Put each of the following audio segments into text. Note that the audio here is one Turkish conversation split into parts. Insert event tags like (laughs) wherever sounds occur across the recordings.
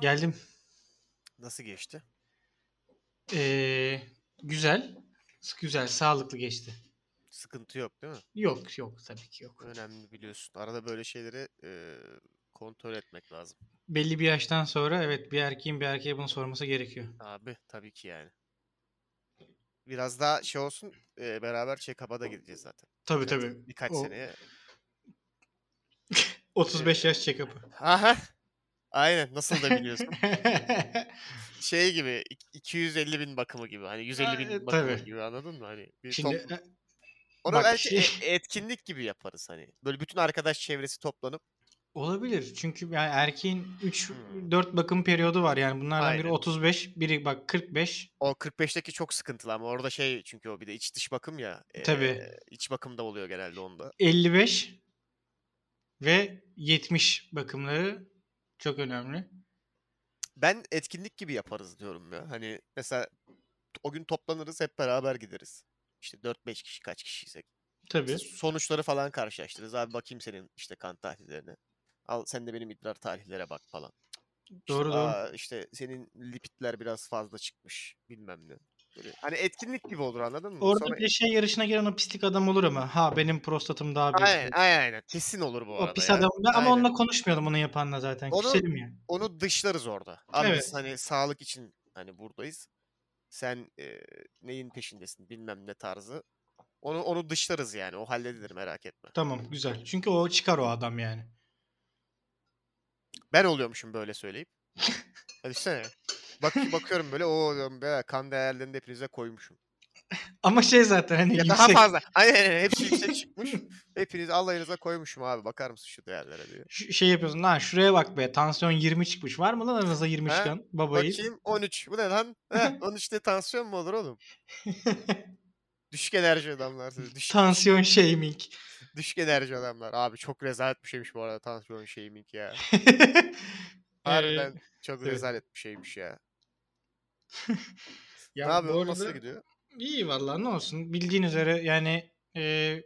Geldim. Nasıl geçti? Ee, güzel. Güzel, sağlıklı geçti. Sıkıntı yok değil mi? Yok yok tabii ki yok. Önemli biliyorsun. Arada böyle şeyleri e, kontrol etmek lazım. Belli bir yaştan sonra evet bir erkeğin bir erkeğe bunu sorması gerekiyor. Abi tabii ki yani. Biraz daha şey olsun e, beraber check-up'a da gideceğiz zaten. Tabii Evet, tabii. Birkaç O- seneye. 35 yaş check-up'ı. (laughs) Aha. Aynen nasıl da biliyorsun. (laughs) şey gibi ik- 250 bin bakımı gibi hani 150 bin e, bakımı tabii. gibi anladın mı? Hani bir Şimdi toplu- e, Onu bak, belki e- şey- etkinlik gibi yaparız hani. Böyle bütün arkadaş çevresi toplanıp olabilir. Çünkü yani erkeğin 3 Hmm. 4 bakım periyodu var. Yani bunlardan biri Aynen. 35, biri bak 45. o 45'teki çok sıkıntılı ama orada şey çünkü o bir de iç dış bakım ya. e, Tabii. iç bakım da oluyor genelde onda. 55 ve 70 bakımları çok önemli. Ben etkinlik gibi yaparız diyorum ya. Hani mesela o gün toplanırız hep beraber gideriz. İşte 4-5 kişi kaç kişiysek. Tabii. İşte sonuçları falan karşılaştırırız. Abi bakayım senin işte kan tahlillerine. Al sen de benim idrar tarihlere bak falan. İşte, Doğru doğru. "Aa, işte senin lipidler biraz fazla çıkmış bilmem ne. Böyle, hani etkinlik gibi olur anladın mı? Orada Sonra- bir şey yarışına giren o pislik adam olur ama ha benim prostatım daha büyük. Aynen, aynen aynen. kesin olur bu arada. o pis ya. adam da- ama Aynen. onunla konuşmayalım onu yapanla zaten. Onu- Küselim yani. onu dışlarız orada. Abi Evet. biz hani sağlık için hani buradayız. Sen e, neyin peşindesin bilmem ne tarzı. Onu onu dışlarız yani. O (laughs) halledilir merak etme. Tamam güzel. Çünkü o çıkar o adam yani. Ben oluyormuşum böyle söyleyip. Hadi sene. Bak bakıyorum böyle o diyorum, "Be, kan değerlerini de (laughs) hepinize koymuşum. Ama şey zaten hani Ya yüksek. daha fazla. Aynen aynen (laughs) hepsi yüksek çıkmış. Hepiniz alayınıza koymuşum abi. Bakar mısın şu değerlere diye. Ş- şey yapıyorsun lan şuraya bak be tansiyon 20 çıkmış. Var mı lan aranızda 20 Ha? çıkan babayı? Bakayım 13. Bu ne lan? Heh, 13'te tansiyon mu (laughs) olur oğlum? Düşük enerji adamlar. siz, Düşük tansiyon shaming. (laughs) Düşük enerji adamlar. Abi çok rezalet bir şeymiş bu arada tansiyon (laughs) şeyimink ya. Ee, Harbiden çok evet. rezalet bir şeymiş ya. ya ne yapıyorsun? bu arada- Nasıl gidiyor? İyi vallahi ne olsun. Bildiğin üzere yani e,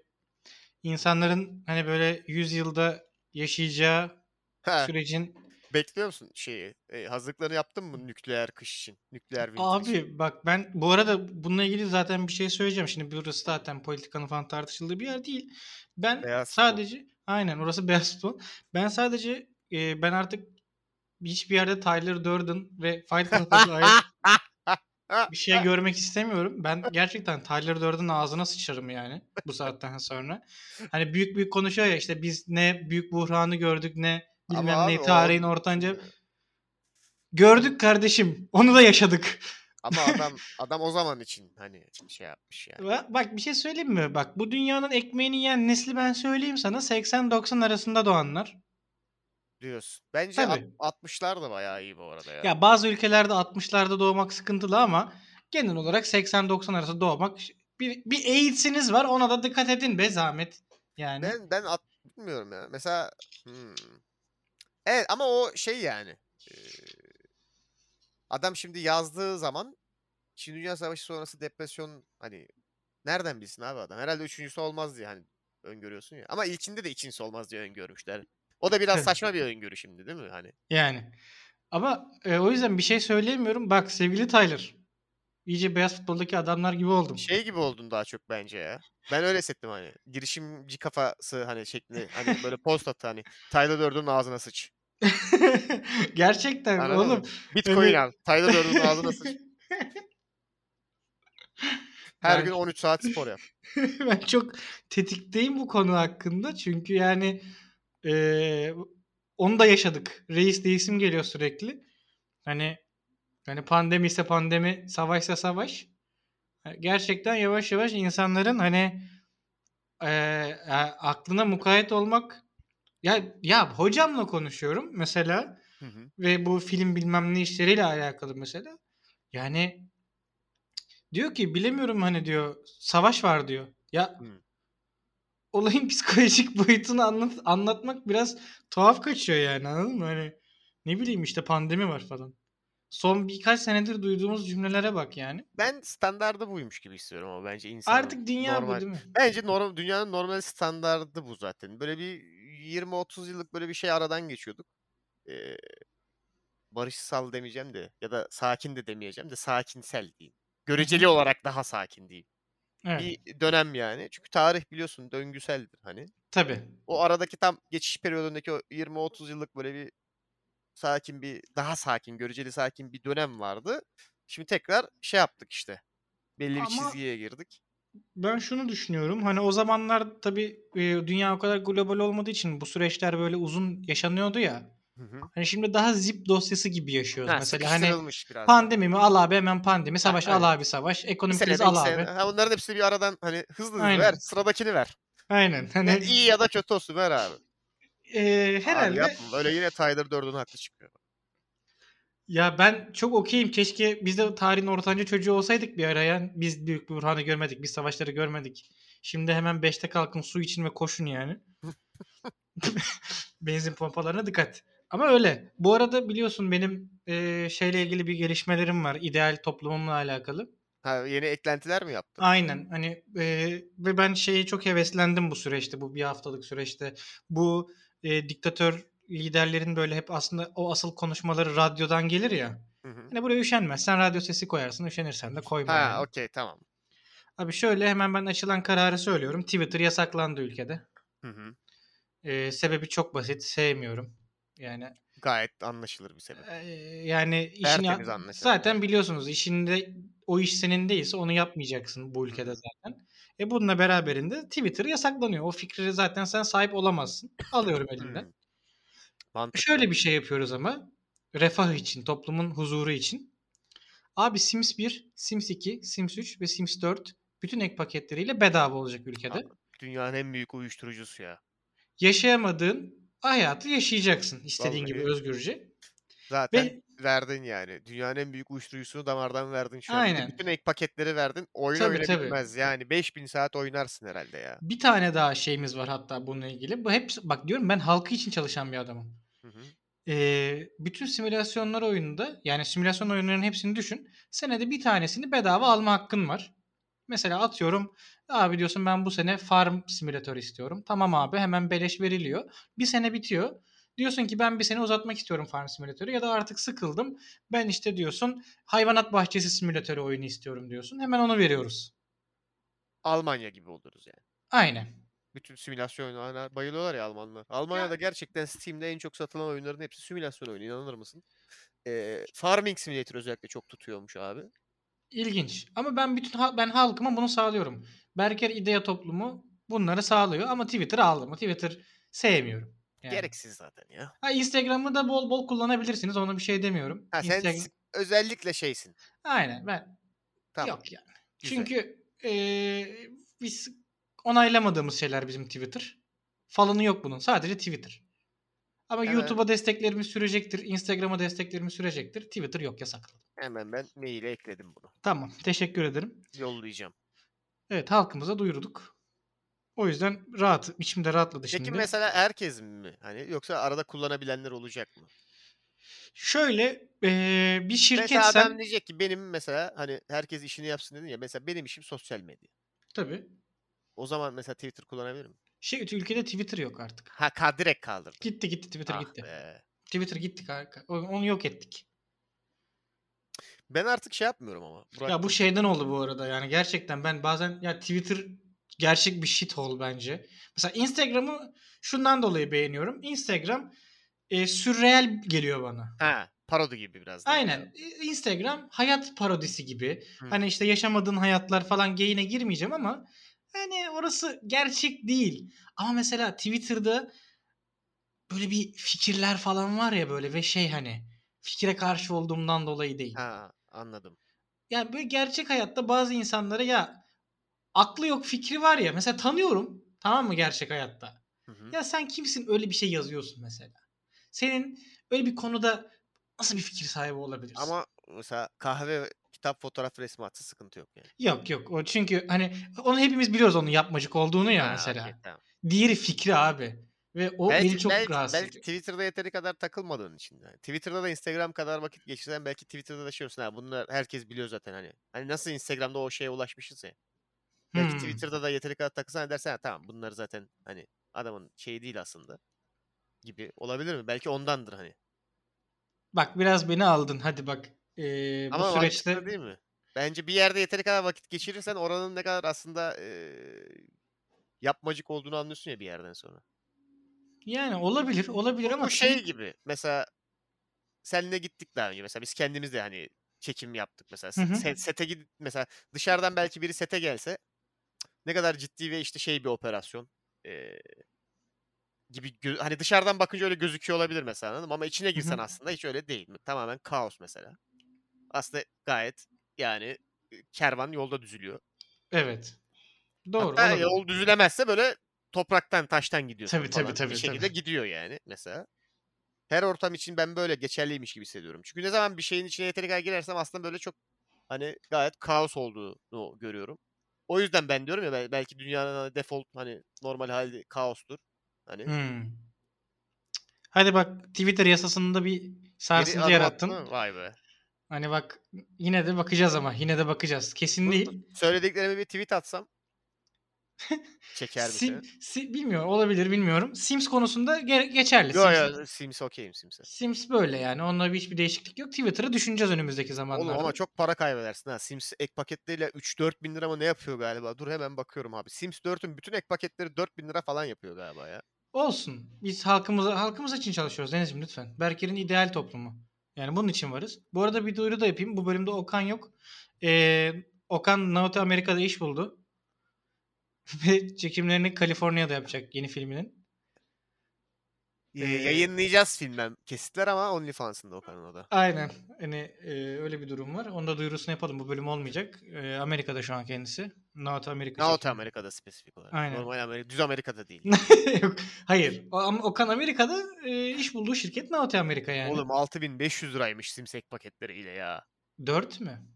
insanların hani böyle 100 yılda yaşayacağı Ha, sürecin bekliyor musun şeyi? E, hazırlıklarını yaptın mı nükleer kış için? Nükleer winter için? Abi bak ben bu arada bununla ilgili zaten bir şey söyleyeceğim. Şimdi burası zaten politikanın falan tartışıldığı bir yer değil. Ben Beyaz futbol. sadece aynen orası (laughs) beyaz futbol. Ben sadece e, ben artık hiçbir yerde Tyler Durden ve Fight Club'a (laughs) dair bir şey görmek istemiyorum. Ben gerçekten Tyler Durden'ın ağzına sıçarım yani bu saatten sonra. Hani büyük büyük konuşuyor ya işte biz ne büyük buhranı gördük ne Ama bilmem ne abi o- tarihin Ee, ortanca gördük kardeşim. Onu da yaşadık. Ama adam adam o zaman için hani şey (laughs) yapmış yani. Ba- Bak bir şey söyleyeyim mi? Bak bu dünyanın ekmeğini yiyen nesli ben söyleyeyim sana 80-90 arasında doğanlar. Diyorsun. Bence at- Tabii. 60'lar da bayağı iyi bu arada ya. Ya bazı ülkelerde 60'larda doğmak sıkıntılı ama genel olarak 80-90 arası doğmak bir, bir AIDS'iniz var ona da dikkat edin be zahmet. Yani Ben ben at- bilmiyorum ya. Mesela hmm. Evet ama o şey yani. eee, Adam şimdi yazdığı zaman Çin Dünya Savaşı sonrası depresyon hani nereden bilsin abi adam? Herhalde üçüncüsü olmaz diye hani öngörüyorsun ya. Ama ilkinde de ikincisi olmaz diye öngörmüşler. O da biraz Evet. saçma bir öngörü şimdi değil mi? Hani yani. Ama e, o yüzden bir şey söyleyemiyorum. Bak sevgili Tyler. iyice beyaz futboldaki adamlar gibi oldum. şey gibi oldun daha çok bence ya. Ben öyle hissettim hani. Girişimci kafası hani şeklinde hani böyle post attı hani. Tyler Durden'ın ağzına sıç. (laughs) Gerçekten Anladın mı? oğlum. Bitcoin al. Tyler Durden'ın ağzına sıç. (laughs) Her gün Ben- 13 saat spor (laughs) yap. (laughs) ben çok tetikteyim bu konu hakkında. Çünkü yani eee, onu da yaşadık. Reis değişim geliyor sürekli. Hani Yani pandemi ise pandemi, savaşsa savaş. Gerçekten yavaş yavaş insanların hani e, e, aklına mukayyet olmak ya ya hocamla konuşuyorum mesela Hı hı. ve bu film bilmem ne işleriyle alakalı mesela. Yani diyor ki bilemiyorum hani diyor savaş var diyor. Ya Hı. olayın (laughs) psikolojik boyutunu anlat, anlatmak biraz tuhaf kaçıyor yani anladın mı? Hani ne bileyim işte pandemi var falan. Son birkaç senedir duyduğumuz cümlelere bak yani. Ben standardı buymuş gibi istiyorum ama bence insanın Artık dünya normal bu değil mi? Bence norm, dünyanın normal standardı bu zaten. Böyle bir 20-30 yıllık böyle bir şey aradan geçiyorduk. Ee, barışsal demeyeceğim de ya da sakin de demeyeceğim de sakinsel diyeyim. Göreceli olarak daha sakin diyeyim. Evet. Bir dönem yani. Çünkü tarih biliyorsun döngüseldir hani. Tabii. O aradaki tam geçiş periyodundaki o 20-30 yıllık böyle bir sakin bir daha sakin göreceli sakin bir dönem vardı. Şimdi tekrar şey yaptık işte. Belli Ama- bir çizgiye girdik. Ben şunu düşünüyorum. Hani o zamanlar tabii e, dünya o kadar global olmadığı için bu süreçler böyle uzun yaşanıyordu ya. Hı hı. Hani şimdi daha zip dosyası gibi yaşıyoruz. Ha, Mesela hani sıkıştırılmış biraz. daha. pandemi mi al abi hemen pandemi. Savaş aynen. al abi savaş. Bir Ekonomik sene, kriz de iki al abi. sene. Ha, onların hepsini bir aradan hani hızlı hızlı Aynen. ver. Sıradakini ver. Aynen. Hani Ne, iyi ya da kötü olsun ver abi. e, Abi herhalde yapma. Öyle yine Tyler Durden haklı çıkıyor. ya ben çok okeyim. Keşke biz de tarihin ortanca çocuğu olsaydık bir ara. ya. Biz Büyük Burhan'ı görmedik. Biz savaşları görmedik. Şimdi hemen 5'te kalkın su için ve koşun (laughs) yani. Benzin pompalarına dikkat. Ama öyle. Bu arada biliyorsun benim e, şeyle ilgili bir gelişmelerim var. İdeal toplumumla alakalı. Ha, yeni eklentiler mi yaptın? Aynen hani e, ve ben şeye çok heveslendim bu süreçte bu bir haftalık süreçte bu e, diktatör liderlerin böyle hep aslında o asıl konuşmaları radyodan gelir ya. Hı hı. Hani buraya üşenmezsen radyo sesi koyarsın üşenirsen de koyma. yani. Ha okey tamam. Abi şöyle hemen ben açılan kararı söylüyorum Twitter yasaklandı ülkede. Hı hı. E, sebebi çok basit sevmiyorum. Yani Gayet anlaşılır bir sebep. e, yani işini Tertemiz anlaşıldı. zaten biliyorsunuz işinde o iş senin değilse onu yapmayacaksın bu ülkede Hı. zaten. E bununla beraberinde Twitter yasaklanıyor. O fikri zaten sen sahip olamazsın. Alıyorum elinden. Hı. Mantıklı. Şöyle bir şey yapıyoruz ama refah için, toplumun huzuru için. Abi Sims 1, Sims 2, Sims 3 ve Sims 4 bütün ek paketleriyle bedava olacak ülkede. Abi. Dünyanın en büyük uyuşturucusu ya. Yaşayamadığın hayatı yaşayacaksın istediğin gibi Vallahi. özgürce. Zaten Ve verdin yani. Dünyanın en büyük uyuşturucusunu damardan verdin şu an. Bir de Aynen. Bütün ek paketleri verdin. Oyun Tabii, öyle tabii. bitmez. Yani 5000 saat oynarsın herhalde ya. Bir tane daha şeyimiz var hatta bununla ilgili. Bu hep bak diyorum ben halkı için çalışan bir adamım. Hı hı. Ee, bütün simülasyonlar oyununda yani simülasyon oyunlarının hepsini düşün. Senede bir tanesini bedava alma hakkın var. Mesela atıyorum abi diyorsun ben bu sene farm simülatör istiyorum. Tamam abi hemen beleş veriliyor. Bir sene bitiyor. Diyorsun ki ben bir sene uzatmak istiyorum farm simülatörü ya da artık sıkıldım. Ben işte diyorsun hayvanat bahçesi simülatörü oyunu istiyorum diyorsun. Hemen onu veriyoruz. Almanya gibi oluruz yani. Aynen. Bütün simülasyon oyunlarına bayılıyorlar ya Almanlar. Almanya'da gerçekten Steam'de en çok satılan oyunların hepsi simülasyon oyunu inanır mısın? Ee, Farming Simulator özellikle çok tutuyormuş abi. İlginç. Ama ben bütün ha- ben halkıma bunu sağlıyorum. Berker İdea toplumu bunları sağlıyor ama Twitter aldı mı? Twitter sevmiyorum. Yani. Gereksiz zaten ya. Ha, Instagram'ı da bol bol kullanabilirsiniz. Ona bir şey demiyorum. Ha, sen Instagram- s- özellikle şeysin. Aynen ben Tamam. yok yani. güzel. Çünkü eee, biz onaylamadığımız şeyler bizim Twitter. Falanı yok bunun. Sadece Twitter. Ama Evet. YouTube'a desteklerimiz sürecektir. Instagram'a desteklerimiz sürecektir. Twitter yok yasaklı. Hemen ben maile ekledim bunu. Tamam. Teşekkür ederim. Yollayacağım. Evet halkımıza duyurduk. O yüzden rahat. içimde rahatladı Peki şimdi. mesela herkes mi? Hani yoksa arada kullanabilenler olacak mı? Şöyle eee, bir Mesela şirketsen adam diyecek ki benim mesela hani herkes işini yapsın dedin ya mesela benim işim sosyal medya. tabii. O zaman mesela Twitter kullanabilir miyim? Şey ülkede Twitter yok artık. Ha ka- direkt kaldırdım. Gitti gitti Twitter Ah gitti. be. Twitter gitti kanka. O- Onu yok ettik. Ben artık şey yapmıyorum ama. Ya bıraktım. bu şeyden oldu bu arada yani gerçekten ben bazen ya Twitter gerçek bir shithole bence. Mesela Instagram'ı şundan dolayı beğeniyorum. Instagram eee sürreel geliyor bana. Ha, parodi gibi biraz. da. Aynen. İ- Instagram hayat parodisi gibi. Hı. Hani işte yaşamadığın hayatlar falan geyine girmeyeceğim ama hani orası gerçek değil. Ama mesela Twitter'da böyle bir fikirler falan var ya böyle ve şey hani fikre karşı olduğumdan dolayı değil. Ha anladım. Yani böyle gerçek hayatta bazı insanlara ya aklı yok fikri var ya. Mesela tanıyorum tamam mı gerçek hayatta. Hı hı. Ya sen kimsin öyle bir şey yazıyorsun mesela. Senin öyle bir konuda nasıl bir fikir sahibi olabilirsin? Ama mesela kahve, kitap, fotoğraf, resmi atsa sıkıntı yok yani. Yok yok o çünkü hani onu hepimiz biliyoruz onun yapmacık olduğunu ya Ha, mesela. okey, tamam. Diğeri fikri abi. Ve o beni çok belki, rahatsız belki ediyor. Twitter'da yeteri kadar takılmadığın için. de. Twitter'da da Instagram kadar vakit geçirsen belki Twitter'da da şey olsun. Ha, bunlar herkes biliyor zaten hani. Hani nasıl Instagram'da o şeye ulaşmışız ya. Belki Hmm. Twitter'da da yeteri kadar takılsan ha dersen ha, tamam bunlar zaten hani adamın şeyi değil aslında gibi olabilir mi? Belki ondandır hani. Bak biraz beni aldın hadi bak. Ee, bu Ama süreçte mantıklı değil mi? Bence bir yerde yeteri kadar vakit geçirirsen oranın ne kadar aslında eee, yapmacık olduğunu anlıyorsun ya bir yerden sonra. yani olabilir olabilir ama Bu şey tweet- gibi mesela seninle gittik daha önce mesela biz kendimiz de hani çekim yaptık mesela Hı hı. Se- sete gidip mesela dışarıdan belki biri sete gelse ne kadar ciddi ve işte şey bir operasyon eee, gibi gö- hani dışarıdan bakınca öyle gözüküyor olabilir mesela anladın mı? ama içine girsen aslında hiç öyle değil tamamen kaos mesela aslında gayet yani e, kervan yolda düzülüyor evet. Doğru Hatta olabilir. yol düzülemezse böyle topraktan taştan gidiyorsun Tabii, tabii, falan. tabii, bir şekilde tabii. gidiyor yani mesela. Her ortam için ben böyle geçerliymiş gibi hissediyorum. Çünkü ne zaman bir şeyin içine yeteri kadar girersem aslında böyle çok hani gayet kaos olduğunu görüyorum. O yüzden ben diyorum ya bel- belki dünyanın hani default hani normal hali kaostur. Hani Hmm. Hadi bak Twitter yasasında bir geri sarsıntı adım attı yarattın. mı? Vay be. Hani bak yine de bakacağız ama yine de bakacağız. Kesin Bu- değil. Söylediklerimi bir (laughs) tweet atsam çeker mi Sim, seni? si- bilmiyorum olabilir bilmiyorum. Sims konusunda ge- geçerli. Yo Sims- yo Sims okeyim Sims'e. Sims böyle yani. Onunla bir- hiçbir değişiklik yok. Twitter'ı düşüneceğiz önümüzdeki Oğlum zamanlarda. ama çok para kaybedersin ha. Sims ek paketleriyle 3-4 bin lira mı ne yapıyor galiba? Dur hemen bakıyorum abi. Sims 4'ün bütün ek paketleri 4 bin lira falan yapıyor galiba ya. Olsun. Biz halkımıza halkımız için çalışıyoruz Deniz'ciğim lütfen. Berker'in ideal toplumu. Yani bunun için varız. Bu arada bir duyuru da yapayım. Bu bölümde Okan yok. Ee, Okan Naughty Amerika'da iş buldu. (laughs) Ve çekimlerini Kaliforniya'da yapacak yeni filminin. Ee, Ee, yayınlayacağız filmden kesitler ama OnlyFans'ında o kanalda. da. Aynen. Hani e, öyle bir durum var. Onu da duyurusunu yapalım. Bu bölüm olmayacak. Ee, Amerika'da şu an kendisi. Naughty Amerika. North çekimi. Amerika'da spesifik olarak. Aynen. Normal Amerika, düz (laughs) Amerika'da değil. yok. Hayır. O, ama Okan Amerika'da e, iş bulduğu şirket Naughty Amerika yani. Oğlum 6500 liraymış Sims ek paketleriyle ya. 4 mü?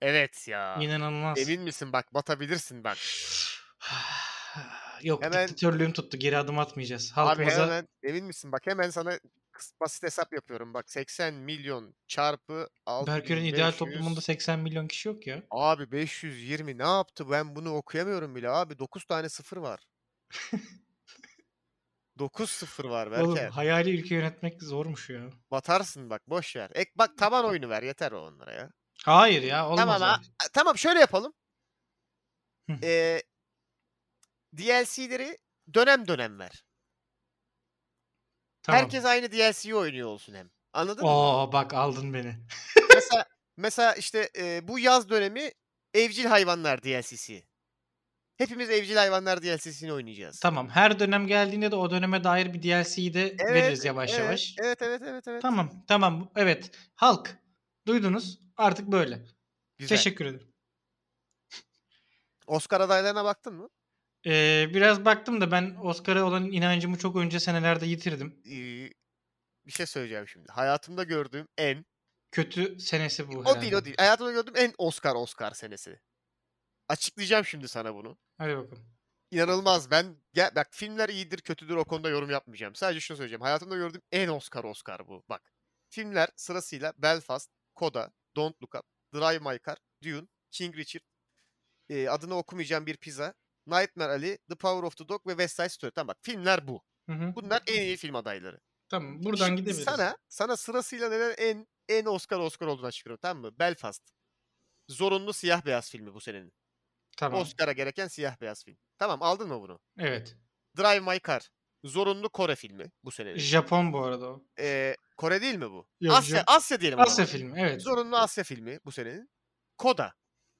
Evet ya. İnanılmaz. Emin misin bak batabilirsin bak. (sighs) Yok Hemen- diktatörlüğüm tuttu. Geri adım atmayacağız. Abi Halkımıza hemen emin misin bak hemen sana kıs- basit hesap yapıyorum bak 80 milyon çarpı 6500. Berkür'ün ideal toplumunda 80 milyon kişi yok ya. Abi 520 ne yaptı? Ben bunu okuyamıyorum bile abi. 9 tane sıfır var. 9 (laughs) sıfır var Oğlum Berker. hayali ülke yönetmek zormuş ya. Batarsın bak boş ver. Ek bak taban oyunu ver yeter o onlara ya. Hayır ya olmaz. Tamam ha. öyle. A- Tamam şöyle yapalım. Hı. Ee, DLC'leri dönem dönem ver. Tamam. Herkes aynı DLC'yi oynuyor olsun hem. Anladın mı? Oo bak aldın beni. Mesela mesela işte e, bu yaz dönemi evcil hayvanlar DLC'si. Hepimiz evcil hayvanlar DLC'sini oynayacağız. Tamam. Her dönem geldiğinde de o döneme dair bir DLC'yi de veririz yavaş evet, yavaş. Evet evet evet evet. Tamam. Tamam. Evet. Halk. Duydunuz. Artık böyle. Güzel. Teşekkür ederim. Oscar adaylarına baktın mı? Ee, biraz baktım da ben Oscar'a olan inancımı çok önce senelerde yitirdim. Ee, bir şey söyleyeceğim şimdi. Hayatımda gördüğüm en Kötü senesi bu herhalde. o değil o değil. Hayatımda gördüğüm en Oscar Oscar senesi. Açıklayacağım şimdi sana bunu. Hadi bakalım. İnanılmaz. Ben gel, bak filmler iyidir kötüdür o konuda yorum yapmayacağım. Sadece şunu söyleyeceğim. Hayatımda gördüğüm en Oscar Oscar bu. Bak. Filmler sırasıyla Belfast, Koda, Don't Look Up, Drive My Car, Dune, King Richard, e, adını okumayacağım bir pizza, Nightmare Alley, The Power of the Dog ve West Side Story. Tamam bak filmler bu. Hı hı. Bunlar en iyi film adayları. Tamam buradan Şimdi gidebiliriz. Sana, sana sırasıyla neden en en Oscar Oscar olduğunu açıklıyorum tamam mı? Belfast. Zorunlu siyah beyaz filmi bu senenin. Tamam. Oscar'a gereken siyah beyaz film. Tamam aldın mı bunu? Evet. Drive My Car. Zorunlu Kore filmi bu senenin. Japon bu arada o. Ee, Kore değil mi bu? Yok, Asya, Jap- Asya diyelim. ona. Asya filmi evet. Zorunlu Asya filmi bu senenin. Koda.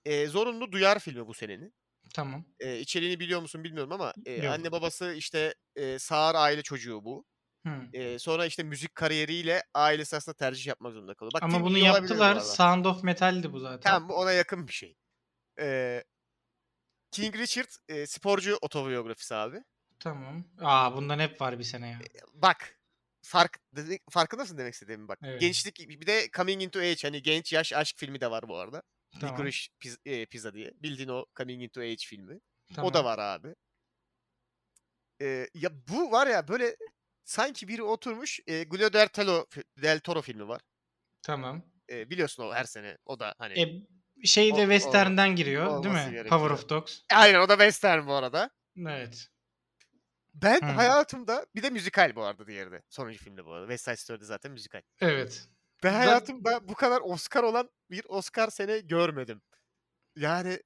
Ee, zorunlu Duyar filmi bu senenin. Tamam. Ee, içeriğini biliyor musun bilmiyorum ama e, Yok. anne babası işte e, sağır aile çocuğu bu. Hmm. Ee, sonra işte müzik kariyeriyle ailesi aslında tercih yapmak zorunda kalıyor. Bak, Ama Tim bunu iyi olabilir bu yaptılar. arada. Sound of Metal'di bu zaten. Tamam bu ona yakın bir şey. Ee, King Richard e, sporcu otobiyografisi abi. Tamam. Aa bundan hep var bir sene ya. Ee, Bak fark dedi- farkındasın demek istediğimi bak. Evet. Gençlik bir de Coming Into Age hani genç yaş aşk filmi de var bu arada. Tamam. Licorice Piz- e, Pizza diye. Bildiğin o Coming Into Age filmi. tamam. O da var abi. Ee, ya bu var ya böyle sanki biri oturmuş e, Guillermo del Toro, del Toro filmi var. Tamam. E, biliyorsun o her sene. O da hani. E, şey de O- Western'den giriyor değil mi? olması gerekiyor. Power of Dogs. Aynen o da western bu arada. Evet. Ben Hmm. hayatımda bir de müzikal bu arada diğeri de. Sonuncu filmde bu arada. West Side Story'de zaten müzikal. Evet. Ben Da- hayatımda bu kadar Oscar olan bir Oscar sene görmedim. Yani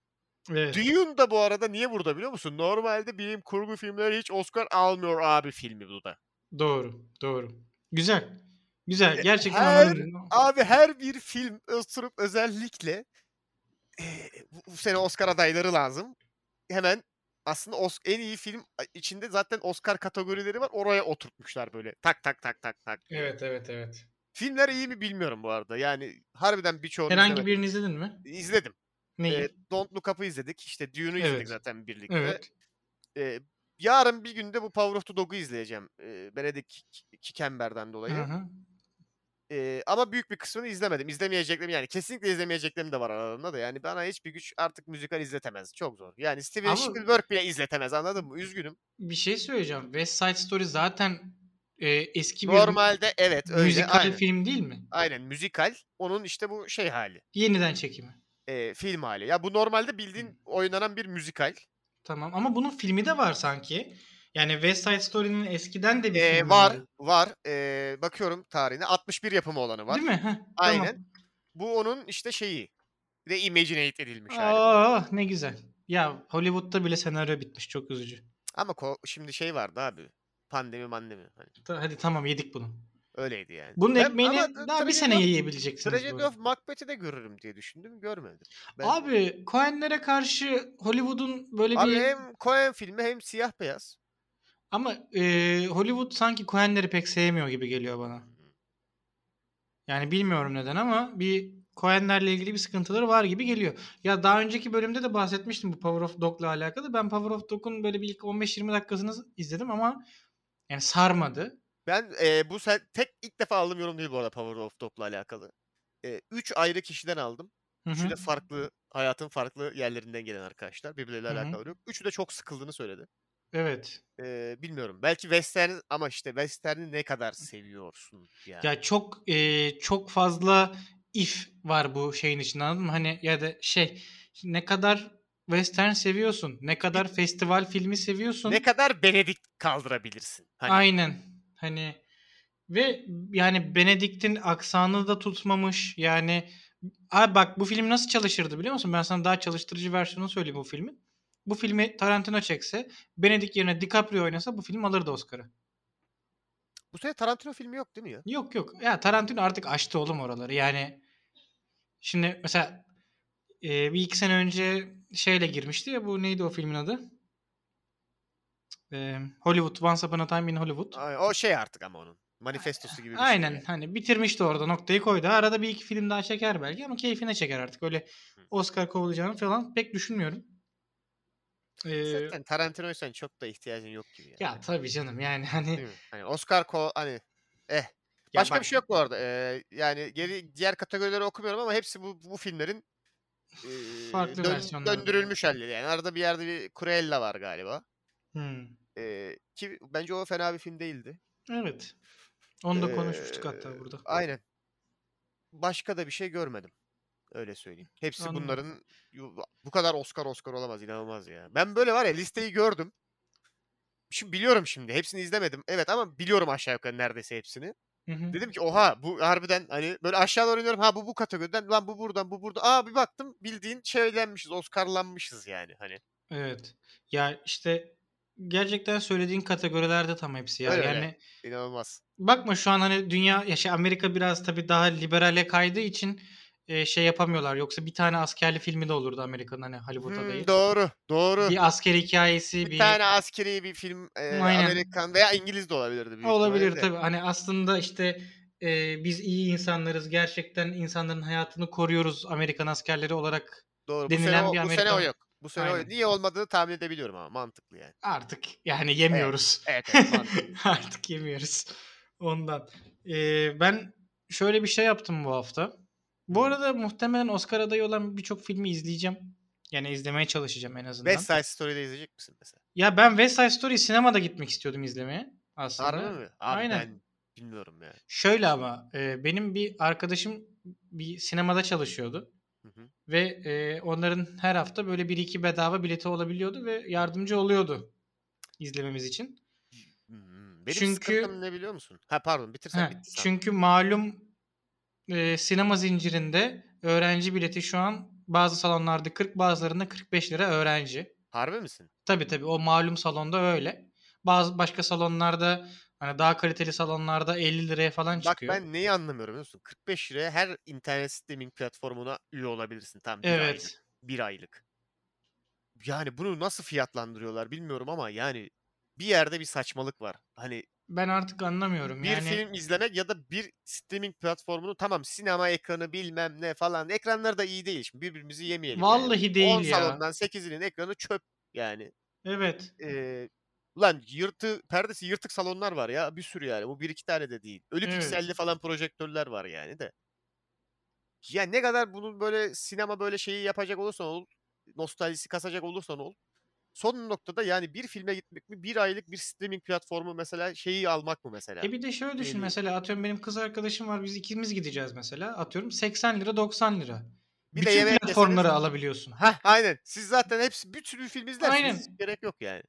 Evet. Dune da bu arada niye burada biliyor musun? Normalde bilim kurgu filmleri hiç Oscar almıyor abi filmi bu da. Doğru. Doğru. Güzel. Güzel. Gerçekten Ee, Her- anladım. Abi her bir film oturup özellikle eee, bu, bu sene Oscar adayları lazım. Hemen aslında Os- en iyi film içinde zaten Oscar kategorileri var. Oraya oturtmuşlar böyle. Tak tak tak tak tak. Evet evet evet. Filmler iyi mi bilmiyorum bu arada. Yani harbiden birçoğunu Herhangi izlemedim. birini izledin mi? izledim. Neyi? Ee, Don't Look Up'ı izledik. İşte Dune'u izledik Evet. zaten birlikte. evet. Ee, yarın bir günde bu Power of the Dog'u izleyeceğim. Ee, Benedict K- Cumberbatch'den dolayı. Hı hı. Ee, ama büyük bir kısmını izlemedim. İzlemeyeceklerim yani kesinlikle izlemeyeceklerim de var aralarında da. Yani bana hiçbir güç artık müzikal izletemez. Çok zor. Yani Steven Ama- Spielberg bile izletemez anladın mı? Üzgünüm. Bir şey söyleyeceğim. West Side Story zaten e, eski bir Normalde evet öyle. müzikal aynen. film değil mi? Aynen müzikal. Onun işte bu şey hali. Yeniden çekimi. Ee, film hali. Ya bu normalde bildiğin oynanan bir müzikal. Tamam ama bunun filmi de var sanki. Yani West Side Story'nin eskiden de bir Ee, filmi var var. Ee, bakıyorum tarihine. 61 yapımı olanı var. Değil mi? Heh, Aynen. Bu onun işte şeyi. Bir de imaginate edilmiş Tamam. hali. Aa, Oh, ne güzel. Ya Hollywood'da bile senaryo bitmiş. Çok üzücü. Ama ko- şimdi şey vardı abi. Pandemi mandemi. Hani Ta- Hadi tamam yedik bunu. öyleydi yani. Bunun Ben- ekmeğini ama daha bir Tragedy sene of- yiyebileceksiniz. bu Tragedy arada. of Macbeth'i de görürüm diye düşündüm. Görmedim. Ben- Abi Coen'lere karşı Hollywood'un böyle Abi bir... hem Coen filmi hem siyah beyaz. Ama e, Hollywood sanki Coen'leri pek sevmiyor gibi geliyor bana. Yani bilmiyorum neden ama bir Coen'lerle ilgili bir sıkıntıları var gibi geliyor. Ya daha önceki bölümde de bahsetmiştim bu Power of Dog'la alakalı. Ben Power of Dog'un böyle bir ilk 15-20 dakikasını izledim ama yani sarmadı. Ben e, bu sen tek ilk defa aldığım yorum değil bu arada Power of Dog'la alakalı. E, üç ayrı kişiden aldım. Hı Üçü hı. de farklı hayatın farklı yerlerinden gelen arkadaşlar. Birbirleriyle Hı hı. alakalı yok. Üçü de çok sıkıldığını söyledi. Evet. E, bilmiyorum. Belki Western ama işte Western'i ne kadar seviyorsun yani. Ya çok e, çok fazla if var bu şeyin içinde anladın mı? Hani ya da şey ne kadar western seviyorsun, ne kadar festival filmi seviyorsun. Ne kadar Benedict kaldırabilirsin? Hani Aynen. Hani ve yani Benedict'in aksanı da tutmamış. Yani abi bak bu film nasıl çalışırdı biliyor musun? Ben sana daha çalıştırıcı versiyonunu söyleyeyim bu filmin. Bu filmi Tarantino çekse, Benedict yerine DiCaprio oynasa bu film alırdı Oscar'ı. bu sene Tarantino filmi yok değil mi ya? Yok yok. Ya Tarantino artık açtı oğlum oraları. Yani şimdi mesela e, bir iki sene önce şeyle girmişti ya bu neydi o filmin adı? E, Hollywood. Once Upon a Time in Hollywood. Ay, o şey artık ama onun. Manifestosu gibi bir şey. Aynen yani. hani bitirmişti orada noktayı koydu. Arada bir iki film daha çeker belki ama keyfine çeker artık. Öyle Oscar kovalayacağını falan pek düşünmüyorum. Ee, Zaten Tarantino'ysan çok da ihtiyacın yok gibi. Yani. ya tabii canım yani hani Değil mi? Hani Oscar ko hani Ya başka bak, bir şey yok bu arada. Ee, yani geri diğer kategorileri okumuyorum ama hepsi bu bu filmlerin ee, Farklı versiyonları. döndürülmüş halleri. Yani arada bir yerde bir Cruella var galiba. hmm, Ee, ki bence o fena bir film değildi. Evet. Onu da Ee, konuşmuştuk hatta burada. Aynen. Başka da bir şey görmedim. Öyle söyleyeyim. Hepsi Anladım. bunların yu- bu kadar Oscar Oscar olamaz inanılmaz ya. Ben böyle var ya listeyi gördüm. Şimdi biliyorum şimdi. Hepsini izlemedim. Evet ama biliyorum aşağı yukarı neredeyse hepsini. Hı hı. Dedim ki oha bu harbiden hani böyle aşağı doğru iniyorum. Ha bu bu kategoriden. Lan bu buradan bu burada. Aa bir baktım bildiğin şeylenmişiz. Oscar'lanmışız yani. Hani Evet. Ya işte gerçekten söylediğin kategorilerde tam hepsi ya. Öyle öyle. yani inanılmaz. bakma şu an hani dünya ya şey Amerika biraz tabii daha liberale kaydığı için e, şey yapamıyorlar. Yoksa bir tane askerli filmi de olurdu Amerika'nın hani Hollywood'da Hmm, değil. doğru, doğru. Bir asker hikayesi, Bir, bir, tane askeri bir film e, Aynen. Amerikan veya İngiliz de olabilirdi. büyük olabilir ihtimalle de. tabii. Hani aslında işte e, biz iyi insanlarız. Gerçekten insanların hayatını koruyoruz Amerikan askerleri olarak. Doğru. Bu Denilen sene, o, bir bu sene o Amerikan- yok. Bu sene o Aynen. yok. Niye olmadığını tahmin edebiliyorum ama mantıklı yani. Artık yani yemiyoruz. Evet, evet (laughs) mantıklı. (laughs) Artık yemiyoruz. Ondan. Ee, ben şöyle bir şey yaptım bu hafta. Bu arada muhtemelen Oscar adayı olan birçok filmi izleyeceğim. Yani izlemeye çalışacağım en azından. West Side Story'de izleyecek misin mesela? Ya ben West Side Story sinemada gitmek istiyordum izlemeye aslında. Harbi mi? Abi Aynen. ben bilmiyorum ya. Şöyle ama e, benim bir arkadaşım bir sinemada çalışıyordu. Hı hı. Ve e, onların her hafta böyle bir iki bedava bileti olabiliyordu ve yardımcı oluyordu izlememiz için. Hmm, Benim Çünkü- sıkıntım ne biliyor musun? Ha pardon bitirsen Ha, bitti. Çünkü... çünkü malum e, sinema zincirinde öğrenci bileti şu an bazı salonlarda 40 bazılarında 45 lira öğrenci. Harbi misin? Tabii tabii o malum salonda öyle. Bazı başka salonlarda hani daha kaliteli salonlarda 50 liraya falan Bak çıkıyor. ben neyi anlamıyorum biliyor musun? 45 liraya her internet streaming platformuna üye olabilirsin. Tam bir aylık. evet. Bir aylık. Yani bunu nasıl fiyatlandırıyorlar bilmiyorum ama yani bir yerde bir saçmalık var. Hani Ben artık anlamıyorum bir yani. film izlemek ya da bir streaming platformunu tamam sinema ekranı bilmem ne falan ekranları da iyi değil. Şimdi birbirimizi yemeyelim. yani. Vallahi değil 10 ya. salondan 8'inin ekranı çöp yani. Evet. Ee, ulan yırtı perdesi yırtık salonlar var ya bir sürü yani. Bu bir iki tane de değil. Ölü Evet. pikselli falan projektörler var yani de. Ya ne kadar bunun böyle sinema böyle şeyi yapacak olursan ol, nostaljisi kasacak olursan ol. Son noktada yani bir filme gitmek mi, bir aylık bir streaming platformu mesela şeyi almak mı mesela? E bir de şöyle düşün Üyeliği. mesela atıyorum benim kız arkadaşım var biz ikimiz gideceğiz mesela atıyorum 80 lira 90 lira. Bir de Bütün yemek platformları yeseniz- alabiliyorsun. Hah aynen. Siz zaten hepsi bir sürü film izlersiniz. Aynen. Hiç gerek yok yani.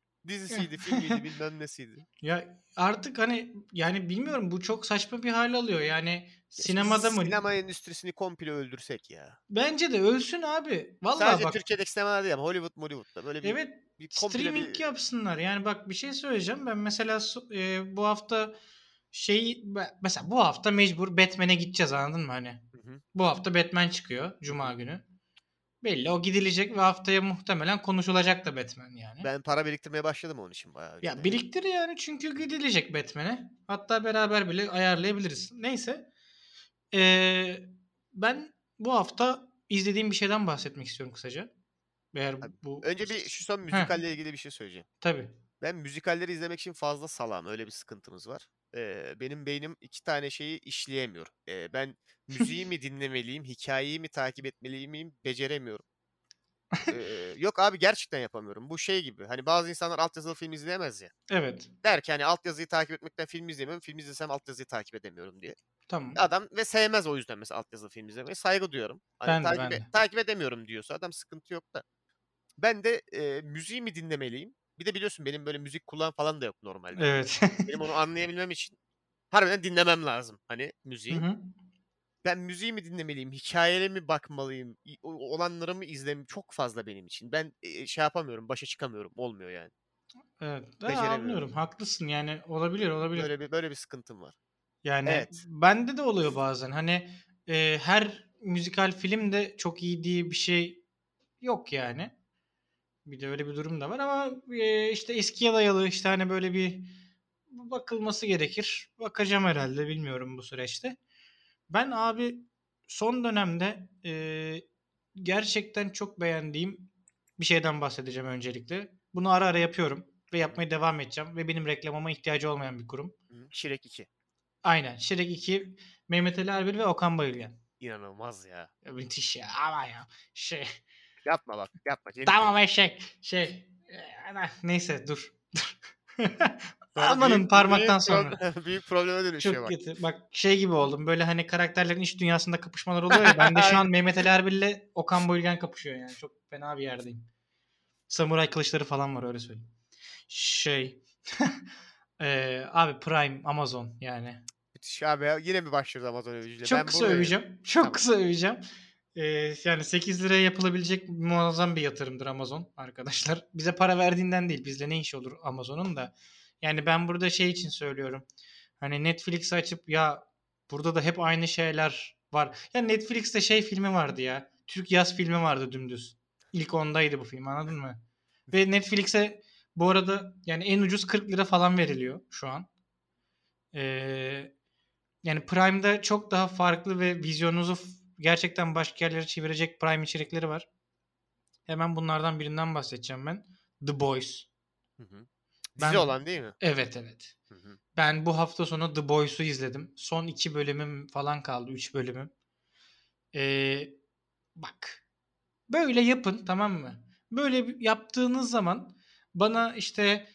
(laughs) Dizisiydi, filmiydi, bilmem nesiydi. Ya artık hani yani bilmiyorum bu çok saçma bir hal alıyor. Yani Keşke sinemada mı? Sinema endüstrisini komple öldürsek ya. Bence de ölsün abi. Vallahi Sadece bak. Türkiye'deki sinemalar değil ama Hollywood, Hollywood'da böyle bir, Evet bir komple streaming bir... yapsınlar. Yani bak bir şey söyleyeceğim. Ben mesela su- e, bu hafta şey ben- mesela bu hafta mecbur Batman'e gideceğiz anladın mı hani? Hı hı. Bu hafta Batman çıkıyor cuma günü. Belli o gidilecek ve haftaya muhtemelen konuşulacak da Batman yani. Ben para biriktirmeye başladım onun için bayağı. önceden. Ya biriktir yani çünkü gidilecek Batman'e. Hatta beraber bile ayarlayabiliriz. Neyse. Ee, ben bu hafta izlediğim bir şeyden bahsetmek istiyorum kısaca. Eğer Abi, bu Önce bir şu son müzikalle ilgili bir şey söyleyeceğim. tabii. Ben müzikalleri izlemek için fazla salam. Öyle bir sıkıntımız var. Ee, benim beynim iki tane şeyi işleyemiyor. Ee, ben müziği mi dinlemeliyim, hikayeyi mi takip etmeliyim miyim beceremiyorum. Ee, yok abi gerçekten yapamıyorum. Bu şey gibi. Hani bazı insanlar altyazılı film izleyemez ya. Evet. Der ki hani altyazıyı takip etmekten film izleyemem. Film izlesem altyazıyı takip edemiyorum diye. Tamam. Adam ve sevmez o yüzden mesela altyazılı film izlemeyi. Saygı duyuyorum. Ben Hani de, takip, ben e- de. takip edemiyorum diyorsa adam sıkıntı yok da. Ben de e, müziği mi dinlemeliyim? Bir de biliyorsun benim böyle müzik kulağım falan da yok normalde. Evet. (laughs) Benim onu anlayabilmem için harbiden dinlemem lazım hani Hı müziği. hı. Ben müziği mi dinlemeliyim, hikayeye mi bakmalıyım, i- o- olanları mı izlemem çok fazla benim için. Ben e, şey yapamıyorum, başa çıkamıyorum, olmuyor yani. evet. Ben Beceremiyorum. anlıyorum. Haklısın yani olabilir olabilir. Böyle bir böyle bir sıkıntım var. Yani Evet. bende de oluyor bazen. Hani e, her müzikal film de çok iyi diye bir şey yok yani. Bir de öyle bir durum da var ama e, işte eskiye dayalı işte hani böyle bir bakılması gerekir. Bakacağım herhalde bilmiyorum bu süreçte. Ben abi son dönemde e, gerçekten çok beğendiğim bir şeyden bahsedeceğim öncelikle. Bunu ara ara yapıyorum ve yapmaya devam edeceğim ve benim reklamama ihtiyacı olmayan bir kurum. Hı, Şirek 2. Aynen. Şirek 2, Mehmet Ali Erbil ve Okan Bayülgen. İnanılmaz ya. Ya Müthiş ya. Ama ya. Şey. Yapma bak, yapma. Cemil Tamam eşek. Şey. e, ana, Neyse dur. (laughs) Sonra Amanın büyük- parmaktan büyük sonra. problem- (laughs) büyük probleme dönüşüyor Çok bak. kötü. Bak şey gibi oldum. Böyle hani karakterlerin iç dünyasında kapışmalar oluyor ya. Ben de şu an Mehmet Ali Erbil'le Okan Bayülgen kapışıyor yani. Çok fena bir yerdeyim. Samuray kılıçları falan var öyle söyleyeyim. Şey. (laughs) Eee, abi Prime, Amazon yani. Müthiş abi ya. Yine mi başlıyoruz Amazon övücüyle? Çok Ben kısa buradayım. öveceğim. Çok Tamam. kısa öveceğim. Ee, yani 8 liraya yapılabilecek muazzam bir yatırımdır Amazon arkadaşlar. Bize para verdiğinden değil. Bizle ne işi olur Amazon'un da. Yani ben burada şey için söylüyorum. Hani Netflix açıp ya burada da hep aynı şeyler var. Ya Netflix'te şey filmi vardı ya. Türk yaz filmi vardı dümdüz. İlk ondaydı bu film anladın (laughs) mı? Ve Netflix'e bu arada yani en ucuz 40 lira falan veriliyor şu an. Ee, yani Prime'da çok daha farklı ve vizyonunuzu f- gerçekten başka yerlere çevirecek Prime içerikleri var. Hemen bunlardan birinden bahsedeceğim ben. The Boys. Hı hı. Dizi Ben- olan değil mi? Evet evet. Hı hı. Ben bu hafta sonu The Boys'u izledim. Son iki bölümüm falan kaldı. Üç bölümüm. Ee, bak. Böyle yapın tamam mı? Böyle bir- yaptığınız zaman bana işte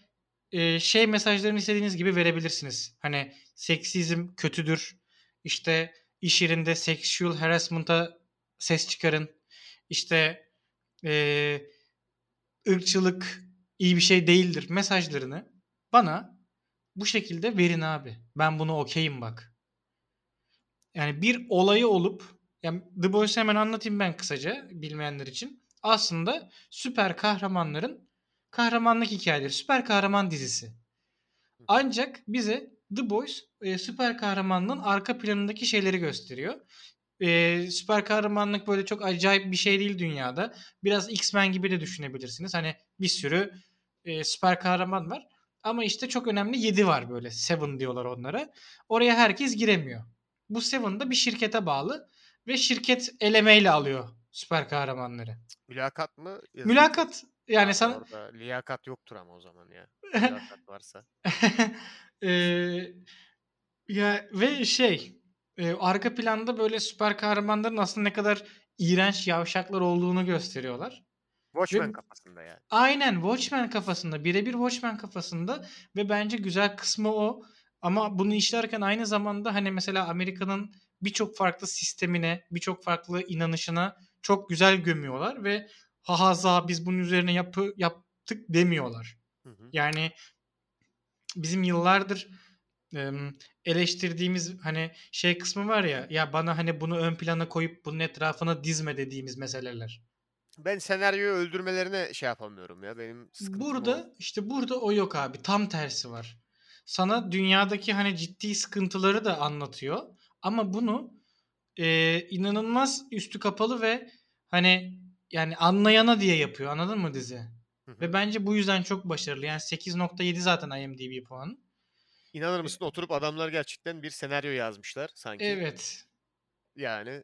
e, şey mesajlarını istediğiniz gibi verebilirsiniz. Hani seksizm kötüdür. İşte iş yerinde sexual harassment'a ses çıkarın. İşte e, ırkçılık iyi bir şey değildir mesajlarını bana bu şekilde verin abi. Ben bunu okeyim bak. Yani bir olayı olup yani The Boys'u hemen anlatayım ben kısaca bilmeyenler için. Aslında süper kahramanların kahramanlık hikayeleri. Süper kahraman dizisi. Ancak bize The Boys e, süper kahramanlığın arka planındaki şeyleri gösteriyor. E, süper kahramanlık böyle çok acayip bir şey değil dünyada. Biraz X-Men gibi de düşünebilirsiniz. Hani bir sürü e, süper kahraman var. Ama işte çok önemli 7 var böyle. Seven diyorlar onlara. Oraya herkes giremiyor. Bu Seven da bir şirkete bağlı ve şirket elemeyle alıyor süper kahramanları. Mülakat mı? yazılı Mülakat yani Ha, sana Orada liyakat yoktur ama o zaman ya. Liyakat varsa. (laughs) Eee, ya ve şey e, arka planda böyle süper kahramanların aslında ne kadar iğrenç yavşaklar olduğunu gösteriyorlar. Watchmen Ve- kafasında yani. Aynen Watchmen kafasında birebir Watchmen kafasında ve bence güzel kısmı o. Ama bunu işlerken aynı zamanda hani mesela Amerika'nın birçok farklı sistemine, birçok farklı inanışına çok güzel gömüyorlar ve hahaza biz bunun üzerine yapı yaptık demiyorlar. Hı hı. Yani bizim yıllardır em, eleştirdiğimiz hani şey kısmı var ya ya bana hani bunu ön plana koyup bunun etrafına dizme dediğimiz meseleler. Ben senaryoyu öldürmelerine şey yapamıyorum ya. Benim sıkıntım o. burada işte burada o yok abi. Tam tersi var. Sana dünyadaki hani ciddi sıkıntıları da anlatıyor ama bunu e, inanılmaz üstü kapalı ve hani yani anlayana diye yapıyor. Anladın mı dizi? Hı hı. Ve bence bu yüzden çok başarılı. Yani 8.7 zaten IMDb puanı. İnanır mısın oturup adamlar gerçekten bir senaryo yazmışlar sanki. Evet. Yani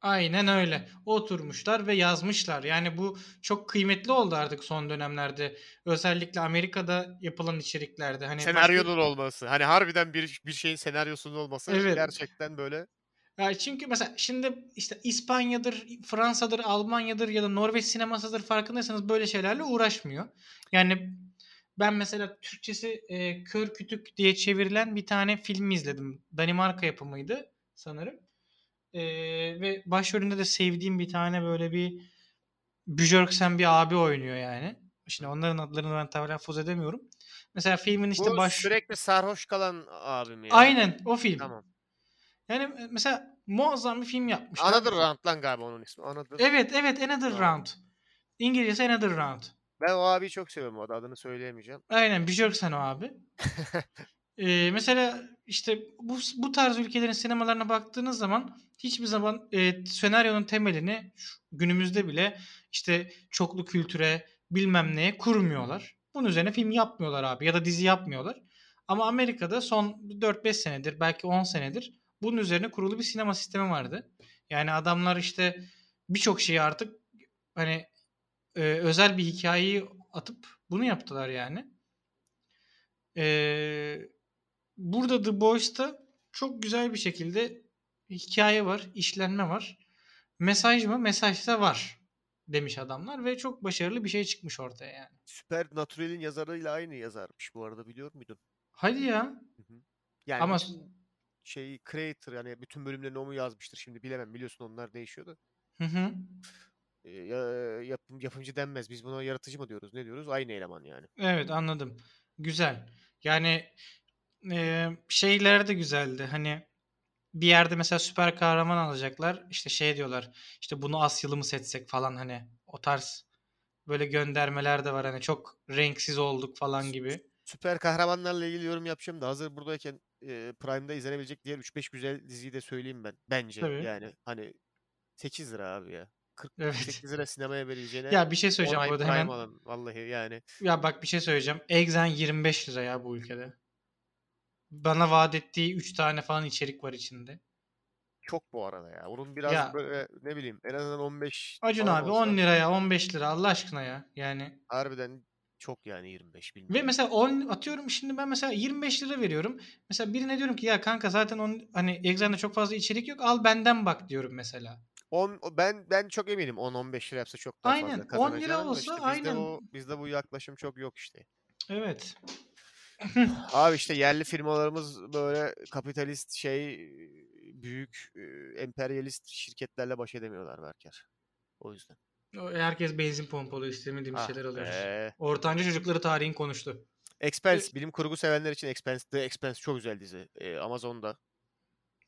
Aynen öyle. Oturmuşlar ve yazmışlar. Yani bu çok kıymetli oldu artık son dönemlerde. Özellikle Amerika'da yapılan içeriklerde. Hani başka- senaryonun olması. Hani harbiden bir bir şeyin senaryosunun olması Evet. gerçekten böyle. Ya Ee, çünkü mesela şimdi işte İspanya'dır, Fransa'dır, Almanya'dır ya da Norveç sinemasıdır farkındaysanız böyle şeylerle uğraşmıyor. Yani ben mesela Türkçesi e, Kör Kütük diye çevrilen bir tane filmi izledim. Danimarka yapımıydı sanırım. E, ve başrolünde de sevdiğim bir tane böyle bir Björksen bir abi oynuyor yani. Şimdi onların adlarını ben telaffuz edemiyorum. Mesela filmin işte Bu baş... sürekli sarhoş kalan abim ya. Aynen o film. Tamam. Yani mesela muazzam bir film yapmışlar. Another Round lan galiba onun ismi. Another. Evet evet Another Doğru. Round. İngilizcesi Another Round. Ben o abiyi çok seviyorum. O adını söyleyemeyeceğim. Aynen Björk sen o abi. Ee, mesela işte bu, bu tarz ülkelerin sinemalarına baktığınız zaman hiçbir zaman e, senaryonun temelini şu- günümüzde bile işte çoklu kültüre bilmem neye kurmuyorlar. Bunun üzerine film yapmıyorlar abi ya da dizi yapmıyorlar. Ama Amerika'da son 4-5 senedir belki 10 senedir bunun üzerine kurulu bir sinema sistemi vardı. Yani adamlar işte birçok şeyi artık hani e, özel bir hikayeyi atıp bunu yaptılar yani. Ee, burada The Boys'ta çok güzel bir şekilde hikaye var, işlenme var. Mesaj mı? Mesajsa var demiş adamlar ve çok başarılı bir şey çıkmış ortaya yani. Süper Natural'in yazarıyla aynı yazarmış bu arada biliyor muydun? Hadi ya. Yani Ama bütün şey creator yani bütün bölümlerini o mu yazmıştır şimdi bilemem biliyorsun onlar değişiyor da. hı hı. Ee, ya, yapım, yapımcı denmez. Biz buna yaratıcı mı diyoruz? Ne diyoruz? Aynı eleman yani. Evet anladım. Güzel. Yani e, şeyler de güzeldi. Hani bir yerde mesela süper kahraman alacaklar. İşte şey diyorlar. İşte bunu Asyalı mı seçsek falan hani o tarz böyle göndermeler de var. Hani çok renksiz olduk falan gibi. Süper kahramanlarla ilgili yorum yapacağım da hazır buradayken e, Prime'da izlenebilecek diğer 3-5 güzel diziyi de söyleyeyim ben. Bence Tabii. yani hani 8 lira abi ya. Evet. 8 lira sinemaya vereceğine ya bir şey söyleyeceğim on ay burada Prime hemen. alın. Vallahi yani. Ya bak bir şey söyleyeceğim. Exxen 25 lira ya bu ülkede. Bana vaat ettiği 3 tane falan içerik var içinde. Çok bu arada ya. Onun biraz Ya. böyle ne bileyim en azından 15 Acun falan abi olsa. 10 liraya 15 lira Allah aşkına ya. Yani Harbiden çok yani 25 bilmiyorum. Ve mesela 10 atıyorum şimdi ben mesela 25 lira veriyorum. Mesela birine diyorum ki ya kanka zaten on, hani Exxen'de çok fazla içerik yok al benden bak diyorum mesela. 10 o- ben ben çok eminim 10 15 lira yapsa çok daha Aynen, 10 fazla lira kazanacağını ama olsa işte bizde aynen. bu bizde bu yaklaşım çok yok işte. Evet. Abi işte yerli firmalarımız böyle kapitalist şey e, büyük e, emperyalist şirketlerle baş edemiyorlar Berker. O yüzden. O- Herkes benzin pompalı istemediğim Ah şeyler alıyoruz. be. Ortanca çocukları tarihin konuştu. Expense bilim kurgu sevenler için Expense The Expense çok güzel dizi. E, Amazon'da.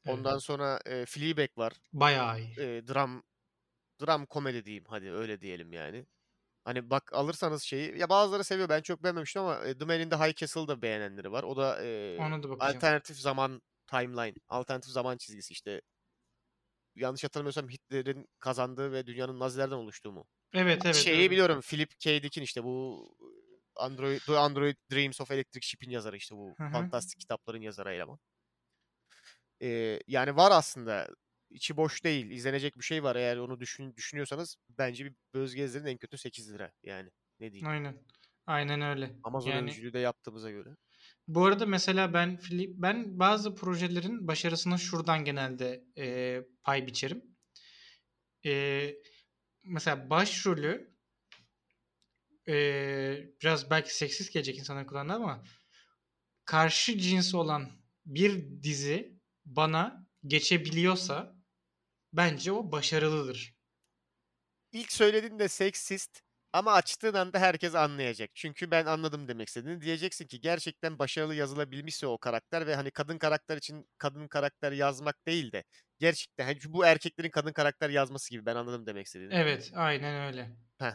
Evet. Ondan sonra e, Fleabag var. Bayağı iyi. e, dram dram komedi diyeyim hadi öyle diyelim yani. Hani bak alırsanız şeyi ya bazıları seviyor ben çok beğenmemiştim ama e, The Man in the High Castle'da beğenenleri var. O da e, Ona da bakacağım. alternatif zaman timeline, alternatif zaman çizgisi işte. Yanlış hatırlamıyorsam Hitler'in kazandığı ve dünyanın Nazilerden oluştuğu mu? Evet evet. Şeyi öyle. biliyorum Philip K. Dick'in işte bu Android, The Android Dreams of Electric Sheep'in yazarı işte bu Hı hı. fantastik kitapların yazarı eleman. Ee, yani var aslında içi boş değil. izlenecek bir şey var eğer onu düşün, düşünüyorsanız bence bir Böz Gezdir'in en kötü 8 lira yani ne diyeyim. Aynen. Aynen öyle. Amazon Yani- öncülüğü de yaptığımıza göre. Bu arada mesela ben Fili- ben bazı projelerin başarısını şuradan genelde e, pay biçerim. E, mesela başrolü e, biraz belki seksist gelecek insanların kulağına ama karşı cins olan bir dizi bana geçebiliyorsa bence o başarılıdır. İlk söylediğin de seksist ama açtığın anda herkes anlayacak. Çünkü ben anladım demek istediğini. Diyeceksin ki gerçekten başarılı yazılabilmişse o karakter ve hani kadın karakter için kadın karakter yazmak değil de gerçekten hani bu erkeklerin kadın karakter yazması gibi ben anladım demek istediğini. Evet, aynen öyle. Ha,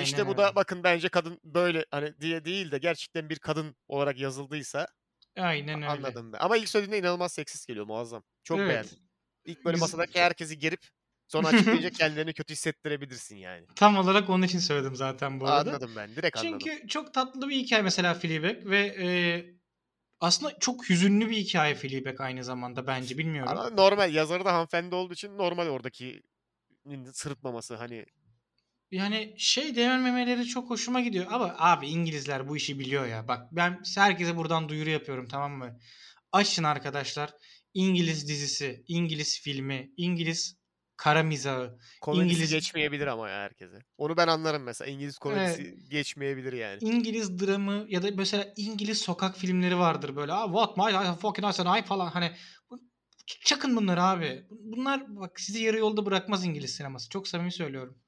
işte aynen bu da öyle. bakın bence kadın böyle hani diye değil de gerçekten bir kadın olarak yazıldıysa Aynen öyle. anladım ben. Ama ilk söylediğinde inanılmaz seksist geliyor muazzam. Çok Evet. beğendim. İlk böyle Biz- masadaki herkesi gerip sonra (laughs) açıklayınca kendilerini kötü hissettirebilirsin yani. Tam olarak onun için söyledim zaten bu arada. Anladım ben. Direkt anladım. Çünkü çok tatlı bir hikaye mesela Fleabag ve e, aslında çok hüzünlü bir hikaye Fleabag aynı zamanda bence bilmiyorum. Ama normal yazarı da hanımefendi olduğu için normal oradaki sırıtmaması hani Yani şey dememeleri çok hoşuma gidiyor ama abi İngilizler bu işi biliyor ya. Bak ben herkese buradan duyuru yapıyorum tamam mı? Açın arkadaşlar İngiliz dizisi, İngiliz filmi, İngiliz kara mizahı. komedisi İngiliz- geçmeyebilir ama ya herkese. Onu ben anlarım mesela. İngiliz komedisi geçmeyebilir yani. İngiliz dramı ya da mesela İngiliz sokak filmleri vardır böyle. "Ah, What my life fucking ass and I falan hani bu- çakın bunları abi. Bunlar bak sizi yarı yolda bırakmaz İngiliz sineması. Çok samimi söylüyorum.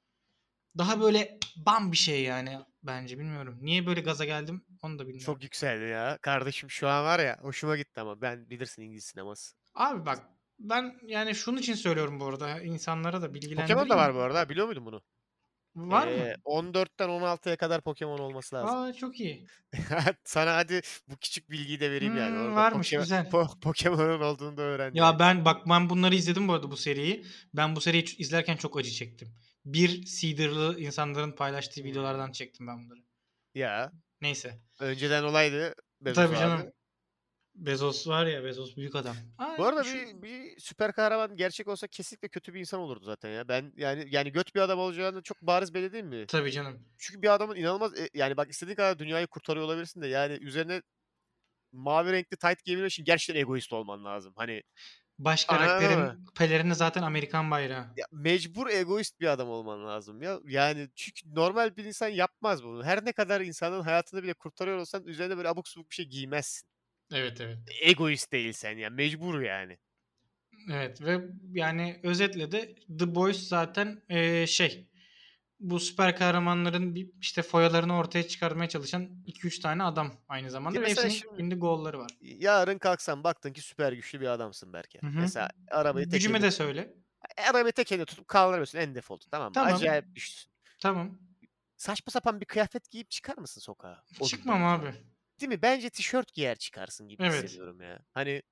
Daha böyle bam bir şey yani bence bilmiyorum. Niye böyle gaza geldim onu da bilmiyorum. Çok yükseldi ya. Kardeşim şu an var ya hoşuma gitti ama ben bilirsin İngiliz sineması. Abi bak ben yani şunun için söylüyorum bu arada insanlara da bilgilendireyim. Pokemon da var bu arada. Biliyor muydun bunu? Var mı? Ee, 14'ten 16'ya kadar Pokemon olması lazım. (laughs) Aa çok iyi. Sana hadi bu küçük bilgiyi de vereyim yani. Hmm, Orada varmış, Pokemon- güzel. Po- Pokemon'un olduğunu da öğrendim. Ya ben bak ben bunları izledim bu arada bu seriyi. Ben bu seriyi ç- izlerken çok acı çektim. Bir Seeder'lı insanların paylaştığı Hmm. videolardan çektim ben bunları. Ya Neyse. önceden olaydı. Bezos Tabii abi. canım. Bezos var ya Bezos büyük adam. Ay, Bu arada şu- bir, bir süper kahraman gerçek olsa kesinlikle kötü bir insan olurdu zaten ya. Ben yani yani göt bir adam olacağını çok bariz belli değil mi? Tabii canım. Çünkü bir adamın inanılmaz e, yani bak istediğin kadar dünyayı kurtarıyor olabilirsin de yani üzerine mavi renkli tight giyebilmek için gerçekten egoist olman lazım. Hani Baş Anladın karakterin pelerini zaten Amerikan bayrağı. ya mecbur egoist bir adam olman lazım ya. Yani çünkü normal bir insan yapmaz bunu. Her ne kadar insanın hayatını bile kurtarıyor olsan üzerine böyle abuk subuk bir şey giymezsin. Evet evet. Egoist değilsen ya mecbur yani. Evet ve yani özetle de The Boys zaten eee, şey bu süper kahramanların bir işte foyalarını ortaya çıkarmaya çalışan 2-3 tane adam aynı zamanda. Ve mesela hepsinin şimdi- şimdi goalları var. Yarın kalksan baktın ki süper güçlü bir adamsın Berker. Hı hı. Mesela arabayı tek Gücüme elinde, de söyle. arabayı tek elinde tutup kaldırıyorsun en default tamam mı? Tamam. Acayip güçlüsün. Tamam. Saçma sapan bir kıyafet giyip çıkar mısın sokağa? o günden Çıkmam sonra? abi. Değil mi? Bence tişört giyer çıkarsın gibi Evet. hissediyorum ya. Hani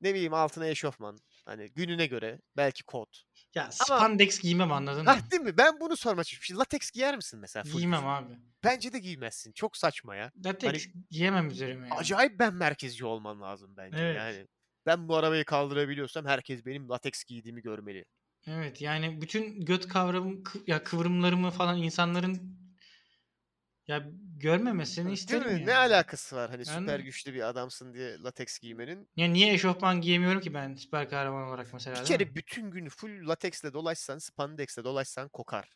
ne bileyim altına eşofman. Hani gününe göre belki kot. Ya spandex giymem anladın mı? Hah değil mi? Ben bunu sormak için. Lateks giyer misin mesela? full Giymem gün? abi. Bence de giymezsin. Çok saçma ya. Latex giyemem üzerime yani. Hani Acayip ben merkezci olman lazım bence. Evet. Yani ben bu arabayı kaldırabiliyorsam herkes benim lateks giydiğimi görmeli. Evet yani bütün göt kavramım kı- ya kıvrımlarımı falan insanların ya görmemesini Değil isterim. mi? yani. Ne alakası var hani Yani- süper güçlü bir adamsın diye lateks giymenin? Ya niye eşofman giyemiyorum ki ben süper kahraman olarak mesela? Bir değil mi? kere bütün gün full lateksle dolaşsan, spandexle dolaşsan kokar.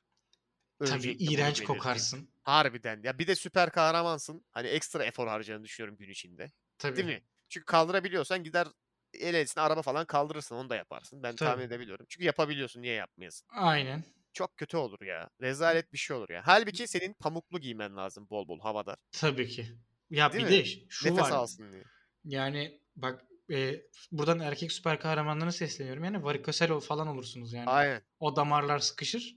tabii Öncelikle bunu iğrenç belirteyim. kokarsın. Harbiden. Ya bir de süper kahramansın. Hani ekstra efor harcayacağını düşünüyorum gün içinde. Tabii. Değil mi? Çünkü kaldırabiliyorsan gider el elsin araba falan kaldırırsın onu da yaparsın. Ben Tabii. tahmin edebiliyorum. Çünkü yapabiliyorsun niye yapmayasın? Aynen. çok kötü olur ya. Rezalet bir şey olur ya. Halbuki senin pamuklu giymen lazım bol bol havada. Tabii ki. Ya Değil bir mi? de ş- şu Nefes var. alsın diye. Yani bak e, buradan erkek süper kahramanlarına sesleniyorum. Yani varikosel ol- falan olursunuz yani. Aynen. O damarlar sıkışır.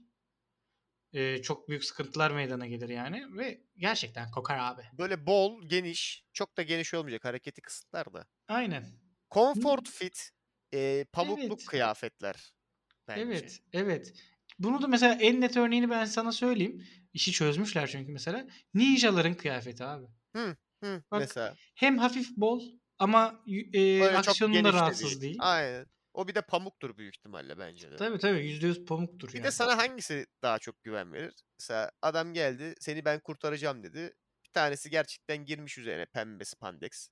E, çok büyük sıkıntılar meydana gelir yani ve gerçekten kokar abi. Böyle bol, geniş. Çok da geniş olmayacak. Hareketi kısıtlar da. Aynen. Comfort fit, e, pamuklu Evet. kıyafetler. Bence. Evet, evet. Bunu da mesela en net örneğini ben sana söyleyeyim. İşi çözmüşler çünkü mesela. Ninjaların kıyafeti abi. Hı, Bak, mesela. Hem hafif bol ama y- e, Böyle çok aksiyonun geniş da de rahatsız değil. Aynen. O bir de pamuktur büyük ihtimalle bence de. Tabii tabii %100 pamuktur Bir yani. de sana hangisi daha çok güven verir? Mesela adam geldi, seni ben kurtaracağım dedi. Bir tanesi gerçekten girmiş üzerine pembe spandex.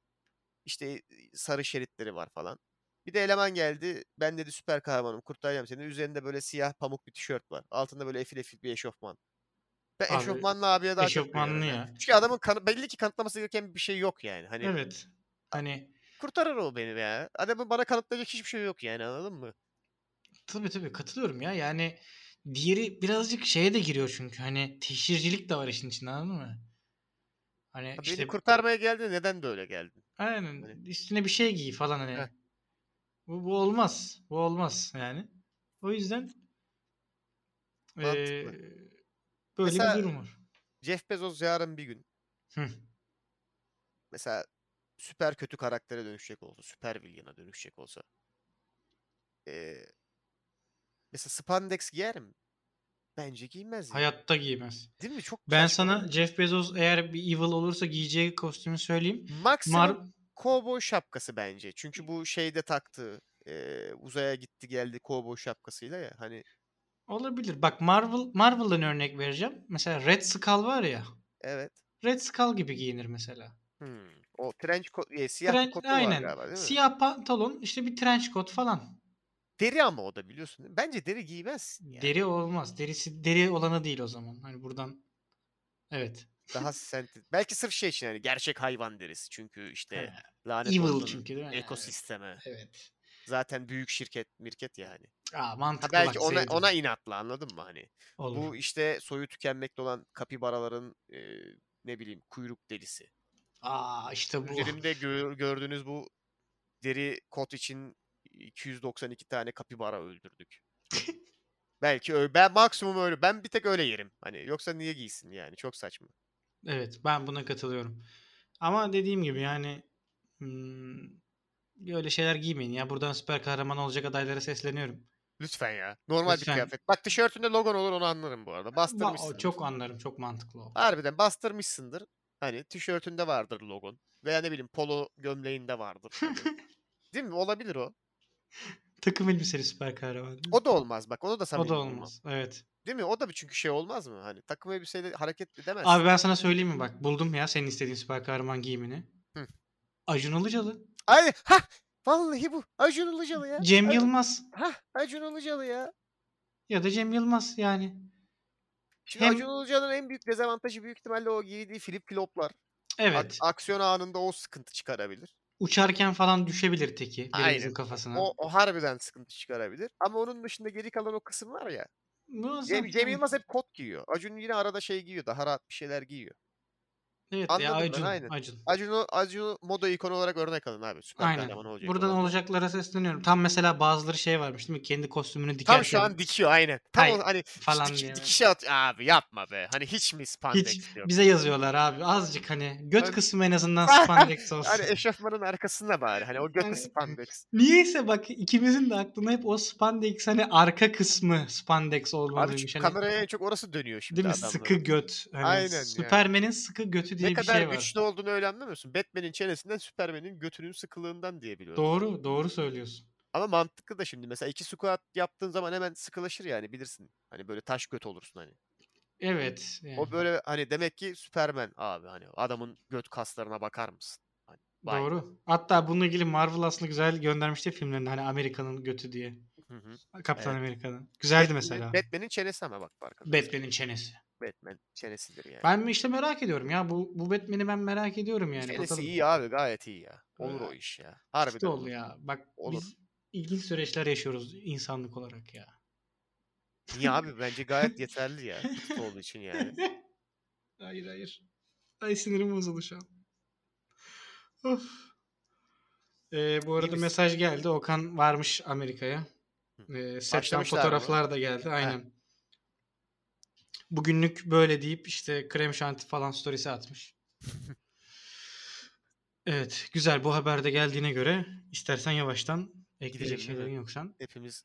İşte e, sarı şeritleri var falan. Bir de eleman geldi. Ben dedi süper kahramanım kurtaracağım seni. Üzerinde böyle siyah pamuk bir tişört var. Altında böyle efil efil bir eşofman. Ben Abi, eşofmanlı abiye daha çok Eşofmanlı güvenirim ya. Çünkü adamın kanı- belli ki kanıtlaması gereken bir şey yok yani. Hani Evet. Hani kurtarır o beni ya. Adamın bana kanıtlayacak hiçbir şey yok yani anladın mı? tabii tabii katılıyorum ya. Yani diğeri birazcık şeye de giriyor çünkü. Hani teşhircilik de var işin içinde anladın mı? Hani Ha, işte Beni kurtarmaya geldi. Neden böyle geldin? aynen Hani- üstüne bir şey giy falan hani. Heh. Bu, bu olmaz. Bu olmaz yani. O yüzden Mantıklı. eee, böyle Mesela- bir durum var. Jeff Bezos yarın bir gün Hı. mesela süper kötü karaktere dönüşecek olsa, süper villain'a dönüşecek olsa. eee, mesela spandex giyer mi? Bence giymez. ya. Hayatta giymez. Değil mi? Çok Ben saçma sana oluyor. Jeff Bezos eğer bir evil olursa giyeceği kostümü söyleyeyim. maksimum Mar kovboy şapkası bence. Çünkü bu şeyde taktığı eee, uzaya gitti geldi kovboy şapkasıyla ya hani olabilir. Bak Marvel Marvel'dan örnek vereceğim. Mesela Red Skull var ya. evet. Red Skull gibi giyinir mesela. Hmm. O trench coat, e, siyah bir Trench- kotu var aynen. galiba değil mi? Siyah pantolon, işte bir trench coat falan. Deri ama o da biliyorsun. değil mi? Bence deri giymez. Yani. Deri olmaz. Derisi deri olanı değil o zaman. Hani buradan Evet. Daha sentetik. Belki sırf şey için hani gerçek hayvan derisi. Çünkü işte Ha, lanet Hani Evil olsun çünkü değil mi? ekosisteme. Evet. Zaten büyük şirket mirket yani. Aa Ha mantıklı belki bak, ona sevdim. ona inatla anladın mı hani? Olur. Bu işte soyu tükenmekte olan kapibaraların e, ne bileyim kuyruk delisi. Aa işte bu. Üzerimde gör- gördüğünüz bu deri kot için 292 tane kapibara (laughs) öldürdük. belki öyle. Ben maksimum öyle. Ben bir tek öyle yerim. Hani yoksa niye giysin yani? Çok saçma. Evet ben buna katılıyorum. Ama dediğim gibi yani hmm, öyle şeyler giymeyin ya. Buradan süper kahraman olacak adaylara sesleniyorum. Lütfen ya. Normal Lütfen. bir kıyafet. Bak tişörtünde logon olur onu anlarım bu arada. Ba- Bastırmışsındır. o çok anlarım. Çok mantıklı o. Harbiden bastırmışsındır. Hani tişörtünde vardır logon. Veya ne bileyim polo gömleğinde vardır. (laughs) hani. Değil mi? Olabilir o. Takım elbiseli süper kahraman. O da olmaz bak. Onu da O samimi da bulmam. olmaz. Evet. Değil mi? O da bir çünkü şey olmaz mı? Hani takım elbiseyle hareket edemezsin. Abi ben sana söyleyeyim mi bak. Buldum ya senin istediğin süper kahraman giyimini. Hı. Acun Ilıcalı. Ay, ha! Vallahi bu. Acun Ilıcalı ya. Cem Ay- Yılmaz. Ha! Acun Ilıcalı ya. Ya da Cem Yılmaz yani. Şimdi Hem- Acun Ilıcalı'nın en büyük dezavantajı büyük ihtimalle o giydiği Philip Kloplar. A- Evet. aksiyon anında o sıkıntı çıkarabilir. Uçarken falan düşebilir teki. Birimizin Aynen. kafasına. O, o harbiden sıkıntı çıkarabilir. Ama onun dışında geri kalan o kısım var ya. Muazzam. Cem, Cem Yılmaz hep kot giyiyor. Acun yine arada şey giyiyor. Daha rahat bir şeyler giyiyor. Evet ya Anladım ben, Acun. aynen. Acun. Acun'u Acun'u moda ikonu olarak örnek alın abi. Süper Aynen. kahraman olacak. Buradan olan. olacaklara sesleniyorum. Tam mesela bazıları şey varmış değil mi? Kendi kostümünü dikerken Tam şu an dikiyor aynen. Tam Hayır, o- hani (laughs) falan dik, diye. dikişe at. Abi yapma be. Hani hiç mi spandex Hiç yok? bize yazıyorlar abi azıcık hani göt Hani- kısmı en (laughs) azından spandex olsun. Hani eşofmanın arkasında bari. Hani o götü Yani- spandex. Niyeyse bak ikimizin de aklına hep o spandex hani arka kısmı spandex Abi olmalıymış. çünkü Hani, kameraya en çok orası dönüyor şimdi değil mi? adamların. Sıkı göt. Hani Aynen yani. Süpermen'in sıkı götü diye ne bir kadar şey var. güçlü olduğunu öyle anlamıyorsun. Batman'in çenesinden Superman'in götünün sıkılığından diye biliyorum. Doğru, doğru söylüyorsun. Ama mantıklı da şimdi mesela iki squat yaptığın zaman hemen sıkılaşır yani bilirsin. Hani böyle taş göt olursun hani. Evet. Yani. O böyle hani demek ki Superman abi hani adamın göt kaslarına bakar mısın? Hani vay. Doğru. Hatta bununla ilgili Marvel aslında güzel göndermişti filmlerinde hani Amerika'nın götü diye. Hı hı. Kaptan Evet. Amerika'nın. Güzeldi Batman'in- mesela. Batman'in çenesi ama bak farkında. Batman'in çenesi. Batman çenesidir yani. Ben işte merak ediyorum ya. Bu bu Batman'i ben merak ediyorum yani. çenesi Bakalım. iyi abi gayet iyi ya. Öyle Olur o abi. iş ya. Harbiden Harbiden oldu olur. ya. Bak Olur. biz ilginç süreçler yaşıyoruz insanlık olarak ya. (laughs) Niye abi bence gayet yeterli ya. Kutu olduğu için yani. hayır hayır. Ay sinirim bozuldu şu an. Of. Ee, bu arada misin? mesaj geldi. Okan varmış Amerika'ya. Ee, setten Başlamışlar mı? fotoğraflar da geldi. Aynen. Bugünlük böyle deyip işte krem şanti falan storiesi (laughs) atmış. evet. Güzel. Bu haberde geldiğine göre istersen yavaştan ekleyecek değil mi? şeylerin yoksan Hepimiz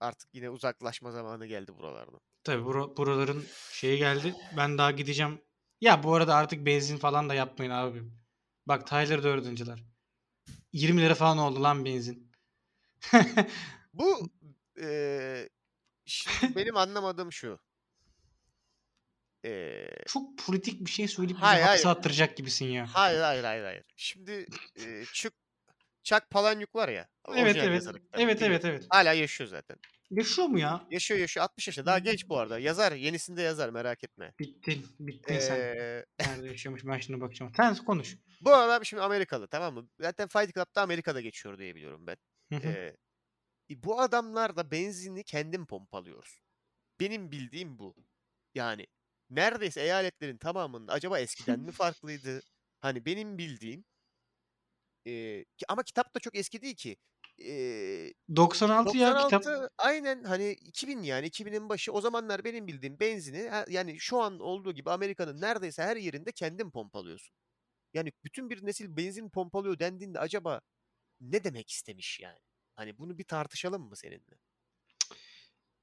artık yine uzaklaşma zamanı geldi buralardan. Tabii bura- buraların şeyi geldi. Ben daha gideceğim. Ya bu arada artık benzin falan da yapmayın abi. Bak Tyler dördüncüler. 20 lira falan oldu lan benzin. (laughs) Bu eee, şimdi benim anlamadığım şu. Eee, Çok politik bir şey söyleyip bizi Hayır, hapse hayır. attıracak gibisin ya. hayır hayır hayır hayır. Şimdi eee Chuck, Chuck Palahniuk var ya. evet orijinal evet. yazarı kitabı, Evet biliyorum. evet evet. Hala yaşıyor zaten. Yaşıyor mu ya? Yaşıyor yaşıyor 60 yaşında. Daha genç bu arada. Yazar yenisini de yazar merak etme. Bittin. Bittin sen. Eee, Nerede yaşıyormuş ben şimdi bakacağım. Sen konuş. bu adam şimdi Amerikalı tamam mı? Zaten Fight Club'da Amerika'da geçiyor diye biliyorum ben. Hı hı. Ee, e, bu adamlar da benzinini kendin pompalıyoruz. Benim bildiğim bu. Yani neredeyse eyaletlerin tamamında acaba eskiden mi farklıydı? Hani benim bildiğim e, ki- ama kitap da çok eski değil ki. E, 96 ya kitap. 96 aynen hani 2000 yani 2000'in başı o zamanlar benim bildiğim benzini ha- yani şu an olduğu gibi Amerika'nın neredeyse her yerinde kendin pompalıyorsun. Yani bütün bir nesil benzin pompalıyor dendiğinde acaba ne demek istemiş yani? Hani bunu bir tartışalım mı seninle?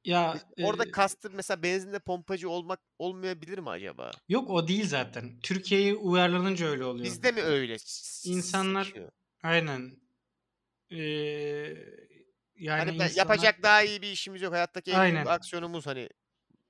Ya Biz- Orada e, kastım mesela benzinde pompacı olmak olmayabilir mi acaba? yok o değil zaten. Türkiye'ye uyarlanınca öyle oluyor. Bizde mi öyle? s- İnsanlar- sekiyor? Aynen. Ee, yani hani ben- insanlar- yapacak daha iyi bir işimiz yok. Hayattaki en Aynen. büyük aksiyonumuz hani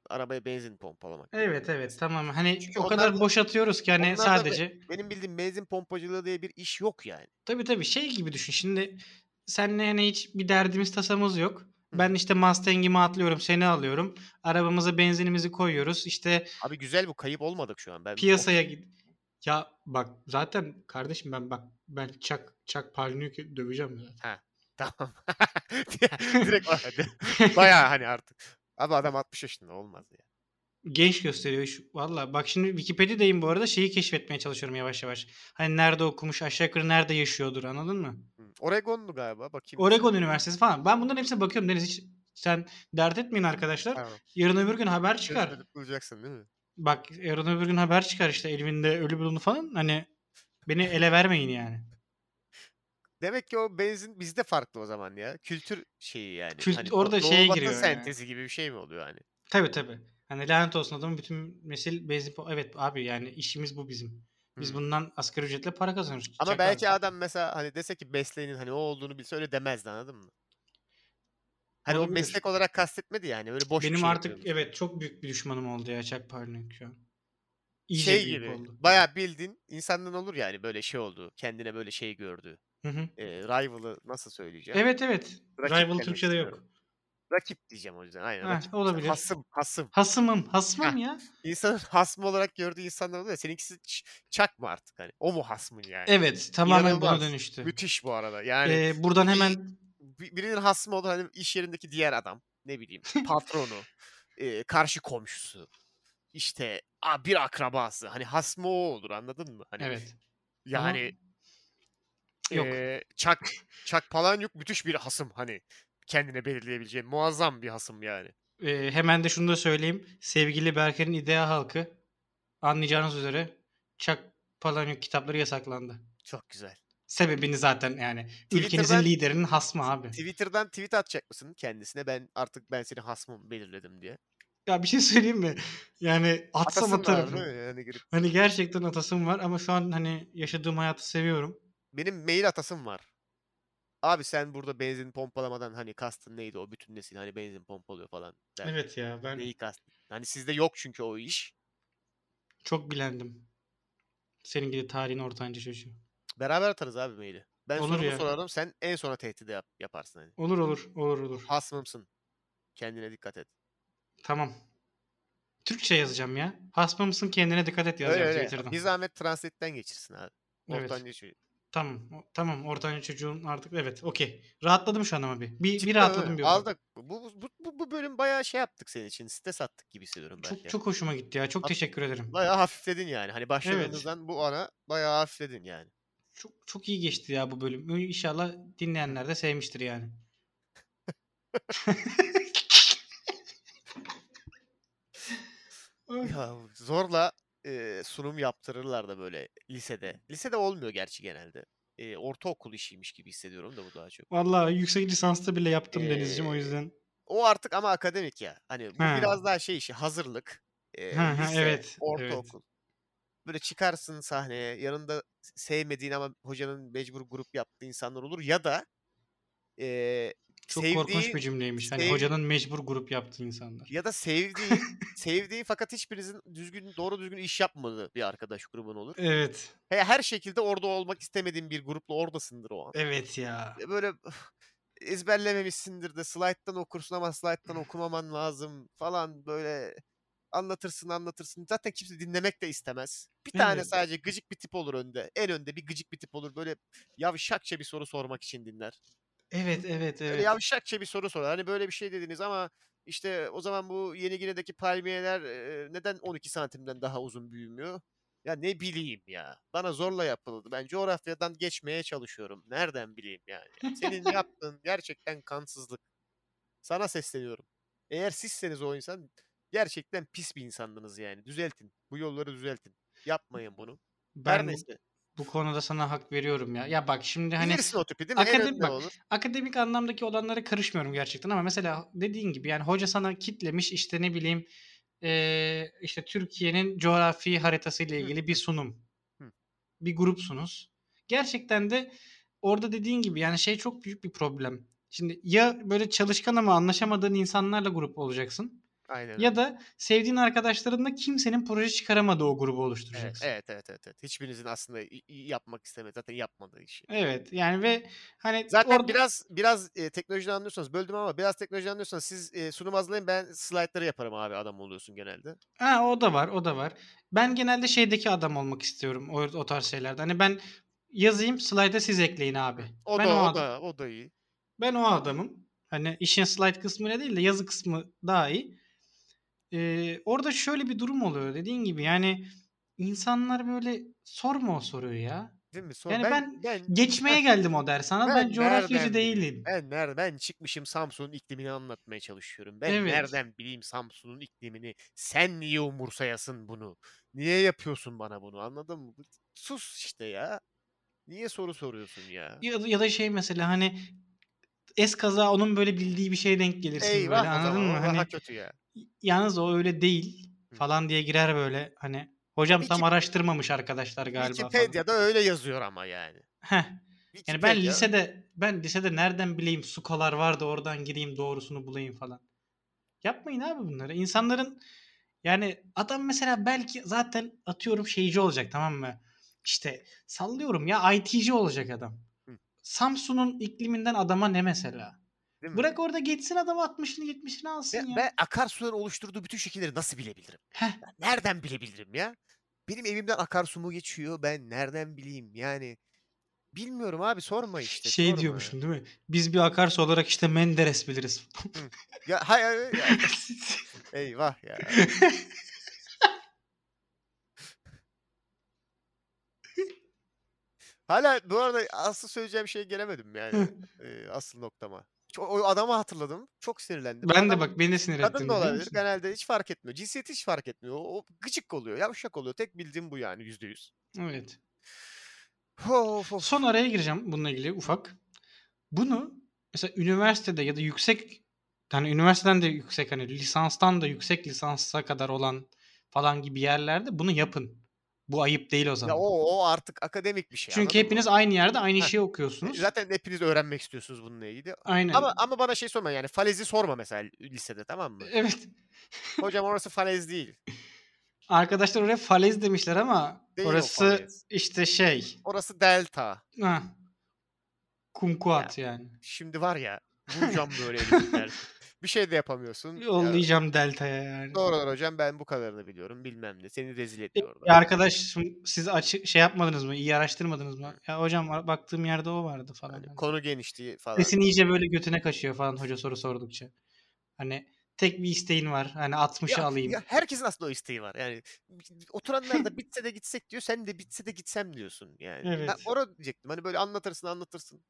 arabaya benzin pompalamak. Evet evet tamam. Hani Çünkü o onlar kadar da- boş atıyoruz ki hani onlar da be- sadece. tabi Benim bildiğim benzin pompacılığı diye bir iş yok yani. Tabii tabii şey gibi düşün. Şimdi senle hani hiç bir derdimiz tasamız yok. Ben işte Mustang'imi atlıyorum, seni alıyorum. Arabamıza benzinimizi koyuyoruz. İşte Abi güzel bu kayıp olmadık şu an. Ben (laughs) piyasaya git. Ya bak zaten kardeşim ben bak ben çak çak palniyü döveceğim zaten. Tamam. (laughs) Direkt (laughs) baya hani artık. Abi adam 60 yaşında olmaz ya. genç gösteriyor. Şu- Valla bak şimdi Wikipedia'dayım bu arada şeyi keşfetmeye çalışıyorum yavaş yavaş. Hani nerede okumuş aşağı yukarı nerede yaşıyordur anladın mı? Hı. Oregonlu galiba bakayım. Oregon Üniversitesi falan. Ben bunların hepsine bakıyorum Deniz hiç sen dert etmeyin arkadaşlar. Tamam. Yarın öbür gün haber çıkar. Çocuk Bulacaksın değil mi? Bak yarın öbür gün haber çıkar işte Elvin'de ölü bulundu falan. Hani beni ele vermeyin yani. Demek ki o benzin bizde farklı o zaman ya. Kültür şeyi yani. Kült- hani orada Doğu şeye Batı giriyor yani. sentezi gibi bir şey mi oluyor hani? Tabii tabii. Hani lanet olsun adamın bütün mesil benzin... po- Evet abi yani işimiz bu bizim. Biz Hı. bundan asgari ücretle para kazanıyoruz. Ama Çakal. belki adam mesela hani dese ki mesleğinin hani o olduğunu bilse öyle demezdi anladın mı? Hani o Olabilir. meslek olarak kastetmedi yani. Öyle boş bir Benim şey artık yapıyorum. evet çok büyük bir düşmanım oldu ya Chuck Palahniuk şu an. İyice şey büyük gibi. oldu. Bayağı bildin insandan olur yani böyle şey oldu. Kendine böyle şey gördü. Hı hı. Ee, rival'ı nasıl söyleyeceğim? Evet evet. Rakip Rival demek Türkçe'de yok. istiyorum. Rakip diyeceğim o yüzden. Aynen. Ha, rakip. olabilir. Hasım, hasım. Hasımım, hasmım Heh. ya. İnsanın (laughs) hasmı olarak gördüğü insanlar oluyor ya. Seninkisi ç- çak mı artık hani? O mu hasmın yani? Evet, tamamen buna İnanılmaz. dönüştü. Müthiş bu arada. Yani Ee, buradan bir- hemen bi- birinin hasmı (laughs) olur hani iş yerindeki diğer adam. Ne bileyim patronu. e, karşı komşusu. işte a, bir akrabası. Hani hasmı o olur anladın mı? Hani Evet. Ama- Yani Yok. eee, Chuck, Chuck Palahniuk müthiş bir hasım hani kendine belirleyebileceği muazzam bir hasım yani. Ee, hemen de şunu da söyleyeyim. Sevgili Berker'in idea halkı anlayacağınız üzere Chuck Palahniuk kitapları yasaklandı. Çok güzel. Sebebini zaten yani ülkenizin Twitter'dan- liderinin hasmı abi. Twitter'dan tweet atacak mısın kendisine ben artık ben seni hasmım belirledim diye. Ya bir şey söyleyeyim mi? Yani atsam Atasın var atarım. değil mi? Yani girip- Hani gerçekten atasım var ama şu an hani yaşadığım hayatı seviyorum. Benim mail atasım var. Abi sen burada benzin pompalamadan hani kastın neydi o bütün nesil hani benzin pompalıyor falan. der. Evet ya ben Neyi kastın? Hani sizde yok çünkü o iş. çok bilendim. Senin gibi tarihin ortanca çocuğu. Beraber atarız abi maili. Ben Olur sorumu ya. sorarım sen en sona tehdidi yap- yaparsın hani. Olur olur olur olur. Hasmımsın. Kendine dikkat et. Tamam. Türkçe yazacağım ya. Hasma mısın kendine dikkat et Öyle yazacağım öyle. Twitter'dan. Bir zahmet translate'den geçirsin abi. Evet. Ortanca şey. Tamam. o- Tamam. Ortanca çocuğun artık evet. Okey. Rahatladım şu an ama bir. Bir, bir Cidden rahatladım öyle. bir. ufak. Aldık. Bu, bu, bu- bu, bu bölüm bayağı şey yaptık senin için. Stres attık gibi hissediyorum ben. Çok çok hoşuma gitti ya. Çok Hat- teşekkür ederim. Bayağı hafifledin yani. Hani başladığımızdan bu ana bayağı hafifledin yani. Çok çok iyi geçti ya bu bölüm. İnşallah dinleyenler de sevmiştir yani. Ay, Ya zorla e, sunum yaptırırlar da böyle lisede. Lisede olmuyor gerçi genelde. E, ortaokul işiymiş gibi hissediyorum da bu daha (laughs) çok. Vallahi yüksek lisansta bile yaptım Ee, Denizciğim o yüzden. O artık ama akademik ya. Hani bu Ha. biraz daha şey işi hazırlık. E, Ha, ha, lise, evet, evet. ortaokul. Böyle çıkarsın sahneye. Yanında sevmediğin ama hocanın mecbur grup yaptığı insanlar olur. Ya da e, Çok sevdiği, korkunç bir cümleymiş. Hani sevdi- hocanın mecbur grup yaptığı insanlar. Ya da sevdiği, sevdiği fakat hiçbirinizin düzgün, doğru düzgün iş yapmadığı bir arkadaş grubun olur. Evet. He, her şekilde orada olmak istemediğin bir grupla oradasındır o an. Evet ya. E, Böyle öf, ezberlememişsindir de slayttan okursun ama slayttan okumaman lazım falan böyle anlatırsın anlatırsın. Zaten kimse dinlemek de istemez. Bir tane Evet. sadece gıcık bir tip olur önde. En önde bir gıcık bir tip olur. Böyle yavşakça bir soru sormak için dinler. Evet evet Böyle evet. yavşakça bir soru sorar. Hani böyle bir şey dediniz ama işte o zaman bu Yeni Gine'deki palmiyeler e, neden 12 santimden daha uzun büyümüyor? Ya ne bileyim ya. Bana zorla yapıldı. Ben coğrafyadan geçmeye çalışıyorum. Nereden bileyim yani? (laughs) Senin yaptığın gerçekten kansızlık. Sana sesleniyorum. Eğer sizseniz o insan gerçekten pis bir insandınız yani. Düzeltin. Bu yolları düzeltin. Yapmayın bunu. Her ben bu, neyse. bu konuda sana hak veriyorum ya. Ya bak şimdi hani Bilirsin o tipi değil mi? En akademik- önde bak, olur. akademik anlamdaki olanlara karışmıyorum gerçekten ama mesela dediğin gibi yani hoca sana kitlemiş işte ne bileyim eee, işte Türkiye'nin coğrafi haritası ile Hı. ilgili bir sunum. Hı. Bir grupsunuz. Gerçekten de orada dediğin gibi yani şey çok büyük bir problem. Şimdi ya böyle çalışkan ama anlaşamadığın insanlarla grup olacaksın Aynen öyle. ya da sevdiğin arkadaşlarınla kimsenin proje çıkaramadığı o grubu Evet, oluşturacaksın. evet, evet, evet, evet. Hiçbirinizin aslında i- i- yapmak istemediği, zaten yapmadığı işi. Evet yani ve hani Zaten orada- biraz biraz e, teknolojiden anlıyorsanız böldüm ama biraz teknolojiden anlıyorsanız siz e, sunum hazırlayın ben slaytları yaparım abi adam oluyorsun genelde. Ha o da var, o da var. Ben genelde şeydeki adam olmak istiyorum o, o tarz şeylerde. Hani ben yazayım, slayda siz ekleyin abi. O ben da o, adam- da o da iyi. ben o adamım. Hani işin slide kısmı ne değil de yazı kısmı daha iyi. Ee, orada şöyle bir durum oluyor dediğin gibi yani insanlar böyle sorma o soruyu ya. Değil mi? Sonra Yani ben ben (laughs) Geçmeye geldim o ders ama ben, Ben coğrafyacı nereden bileyim? değilim. ben nereden ben çıkmışım Samsun'un iklimini anlatmaya çalışıyorum. Ben Evet. nereden bileyim Samsun'un iklimini? Sen niye umursayasın bunu? Niye yapıyorsun bana bunu? Anladın mı? Sus işte ya. Niye soru soruyorsun ya? Ya, da- ya da şey mesela hani eskaza onun böyle bildiği bir şeye denk gelirsin Eyvah böyle o anladın zaman. mı? o Hani daha kötü ya. yalnız o öyle değil Hı. falan diye girer böyle hani hocam tam Wiki- araştırmamış arkadaşlar galiba falan. Wikipedia'da öyle yazıyor ama yani. Heh, Yani ben Wikipedia- lisede ben lisede nereden bileyim sukalar vardı oradan gireyim doğrusunu bulayım falan. Yapmayın abi bunları. İnsanların yani adam mesela belki zaten atıyorum şeyci olacak tamam mı? İşte sallıyorum ya IT'ci olacak adam. Hı. Samsun'un ikliminden adama ne mesela? Değil mi? Bırak orada geçsin adam 60'ını 70'ini alsın ben, ya. ben akarsuların oluşturduğu bütün şekilleri nasıl bilebilirim? Heh. Ben Nereden bilebilirim ya? Benim evimden akarsu mu geçiyor? Ben nereden bileyim? Yani bilmiyorum abi sorma işte. şey sorma. diyormuşum değil mi? Biz bir akarsu olarak işte Menderes biliriz. Ya, hay, hay- hay- eyvah ya. Hala bu arada asıl söyleyeceğim şeye gelemedim yani. Eee, asıl noktama. Ço- o adamı hatırladım. Çok sinirlendim. (laughs) Ben de Adam bak beni sinir ettin. Kadın da biliyor olabilir. musun? Genelde hiç fark etmiyor. Cinsiyeti hiç fark etmiyor. O o gıcık oluyor. Yavşak oluyor. Tek bildiğim bu yani yüzde yüz. Evet. Of of. Son araya gireceğim bununla ilgili ufak. Bunu mesela üniversitede ya da yüksek yani üniversiteden de yüksek hani lisanstan da yüksek lisansa kadar olan falan gibi yerlerde bunu yapın. Bu ayıp değil o zaman. Ya o, o artık akademik bir şey. Çünkü anladın mı? hepiniz aynı yerde aynı Heh. şeyi E, okuyorsunuz. Zaten hepiniz öğrenmek istiyorsunuz bununla ilgili. Aynen. Ama ama bana şey sorma yani falezi sorma mesela lisede tamam mı? Evet. Hocam orası falez değil. Arkadaşlar oraya falez demişler ama Değil o orası falez. işte şey. Orası delta. Ha. Kumkuat yani. Şimdi var ya vuracağım böyle (laughs) elimden. bir şey de yapamıyorsun. Ya, Yollayacağım deltaya yani. Doğrular hocam ben bu kadarını biliyorum bilmem ne. Seni rezil ediyor orada. Ya arkadaş siz açık şey yapmadınız mı? İyi araştırmadınız mı? Ya hocam a- baktığım yerde o vardı falan. Hani Yani. konu genişti falan. Sesini iyice böyle götüne kaşıyor falan hoca soru sordukça. Hani tek bir isteğin var. Hani 60'ı Ya- alayım. ya herkesin aslında o isteği var. Yani (laughs) oturanlar da bitse de gitsek diyor. Sen de bitse de gitsem diyorsun yani. E, Ben Evet. orada diyecektim. Hani böyle anlatırsın anlatırsın.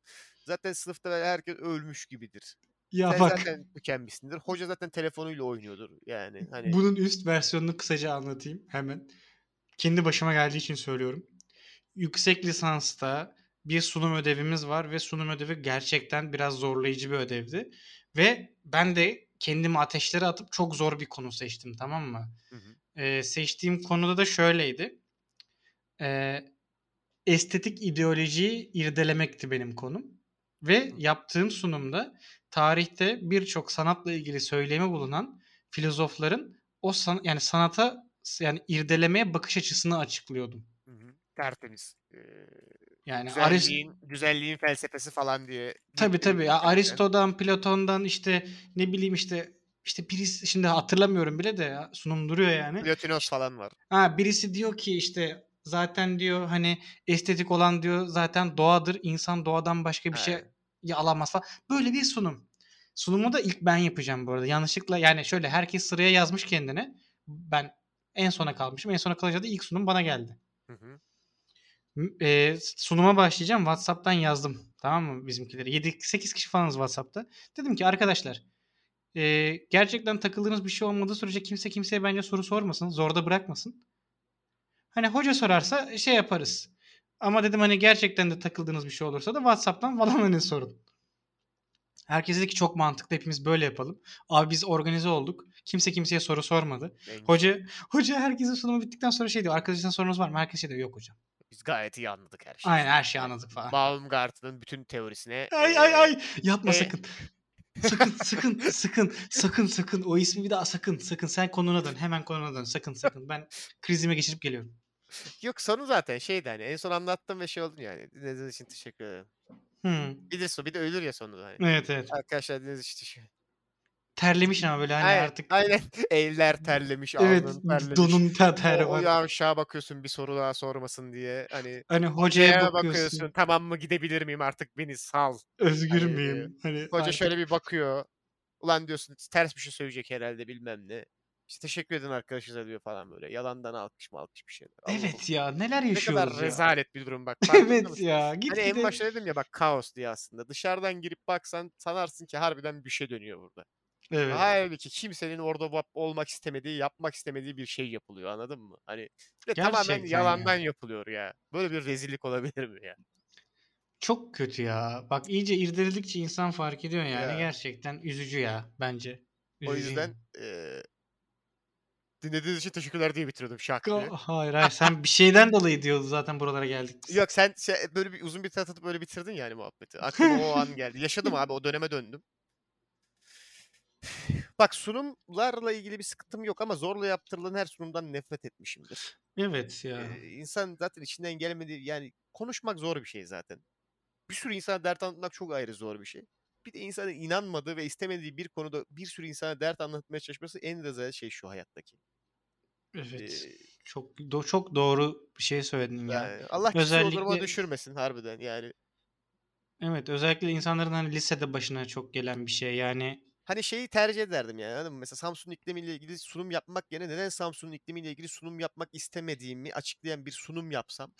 Zaten sınıfta böyle herkes ölmüş gibidir. Ya Sen bak zaten tükenmişsindir. Hoca zaten telefonuyla oynuyordur. Yani hani bunun üst versiyonunu kısaca anlatayım hemen. Kendi başıma geldiği için söylüyorum. Yüksek lisansta bir sunum ödevimiz var ve sunum ödevi gerçekten biraz zorlayıcı bir ödevdi. Ve ben de kendimi ateşlere atıp çok zor bir konu seçtim tamam mı? Hı hı. Ee, seçtiğim konuda da şöyleydi. Ee, estetik ideolojiyi irdelemekti benim konum. Ve yaptığım sunumda tarihte birçok sanatla ilgili söylemi bulunan filozofların o san- yani sanata yani irdelemeye bakış açısını açıklıyordum. Hı hı. tertemiz. Ee, Yani Arist güzelliğin, şey, güzelliğin felsefesi falan diye. Tabii gitti tabii. Ya gerçekten. Aristo'dan, Platon'dan işte ne bileyim işte işte birisi şimdi hatırlamıyorum bile de ya, sunum duruyor yani. Plotinos falan var. Ha birisi diyor ki işte zaten diyor hani estetik olan diyor zaten doğadır. İnsan doğadan başka bir şey Ha. ya alamaz falan. Böyle bir sunum. Sunumu da ilk ben yapacağım bu arada. Yanlışlıkla yani şöyle herkes sıraya yazmış kendine. Ben en sona kalmışım. En sona kalınca da ilk sunum bana geldi. Hı hı. M- e, sunuma başlayacağım. WhatsApp'tan yazdım. Tamam mı bizimkileri? 7-8 kişi falanız WhatsApp'ta. Dedim ki arkadaşlar e, gerçekten takıldığınız bir şey olmadığı sürece kimse kimseye bence soru sormasın. Zorda bırakmasın. Hani hoca sorarsa şey yaparız. Ama dedim hani gerçekten de takıldığınız bir şey olursa da WhatsApp'tan falan hani sorun. Herkes dedi ki çok mantıklı hepimiz böyle yapalım. Abi biz organize olduk. Kimse kimseye soru sormadı. En- Hoca hoca herkesin sunumu bittikten sonra şey diyor. Arkadaşın sorunuz var mı? Herkes şey diyor yok hocam. Biz gayet iyi anladık her şeyi. Aynen her şeyi anladık falan. Baumgart'ın bütün teorisine Ay ee, ay ay yapma e. sakın. Sakın sakın sakın sakın sakın o ismi bir daha sakın sakın sen konuna dön hemen konuna dön sakın sakın ben krizime geçirip geliyorum. Yok sonu zaten şeydi hani en son anlattım ve şey oldun yani. Dinlediğiniz için teşekkür ederim. Hmm. Bilirsin bir de ölür ya sonunda hani. Evet evet. Arkadaşlar dinlediğiniz için teşekkür ederim. Terlemişsin ama böyle hani aynen, artık aynen. (laughs) Eller terlemiş, evet alnın terlemiş. donun ter o, ter o var. yavşağa bakıyorsun bir soru daha sormasın diye. Hani Hani şeye hocaya bakıyorsun. bakıyorsun. Tamam mı gidebilir miyim artık beni sal. Özgür Hani, müyüm? Hani Hoca artık- şöyle bir bakıyor. Ulan diyorsun ters bir şey söyleyecek herhalde bilmem ne. İşte teşekkür edin arkadaşlar diyor falan böyle. Yalandan alkış mı alkış bir şeyler. Allah'ım, Evet ya neler Ne kadar yaşıyoruz ya. rezalet bir durum bak. (laughs) farkında Evet mısın? ya git Hani en gide- başta dedim ya bak kaos diye aslında. Dışarıdan girip baksan sanarsın ki harbiden bir şey dönüyor burada. Evet. Halbuki kimsenin orada va- olmak istemediği, yapmak istemediği bir şey yapılıyor anladın mı? Hani ve tamamen Gerçekten ya. yalandan yapılıyor ya. Böyle bir rezillik olabilir mi ya? Çok kötü ya. Bak iyice irdeledikçe insan fark ediyor yani. Ya. Gerçekten üzücü ya bence. O Üzücü yüzden yani. eee, dinlediğiniz için teşekkürler diye bitiriyordum şak diye. Ka- Hayır hayır sen bir şeyden dolayı diyordun zaten buralara geldik (laughs) biz. Yok sen şey, böyle bir uzun bir tat atıp böyle bitirdin yani muhabbeti. Aklıma o (laughs) an geldi. Yaşadım abi o döneme döndüm. Bak sunumlarla ilgili bir sıkıntım yok ama zorla yaptırılan her sunumdan nefret etmişimdir. Evet ya. Ee, insan zaten içinden gelmediği yani konuşmak zor bir şey zaten. Bir sürü insana dert anlatmak çok ayrı zor bir şey. Bir de insanın inanmadığı ve istemediği bir konuda bir sürü insana dert anlatmaya çalışması en rezalet şey şu hayattaki. Evet. Ee, Çok do- çok doğru bir şey söyledin ya. yani Allah kimseyi o duruma özellikle- düşürmesin harbiden yani. Evet özellikle insanların hani lisede başına çok gelen bir şey yani hani şeyi tercih ederdim yani. Anladın mı? Mesela Samsun'un iklimiyle ilgili sunum yapmak yerine neden Samsun'un iklimiyle ilgili sunum yapmak istemediğimi açıklayan bir (laughs) sunum yapsam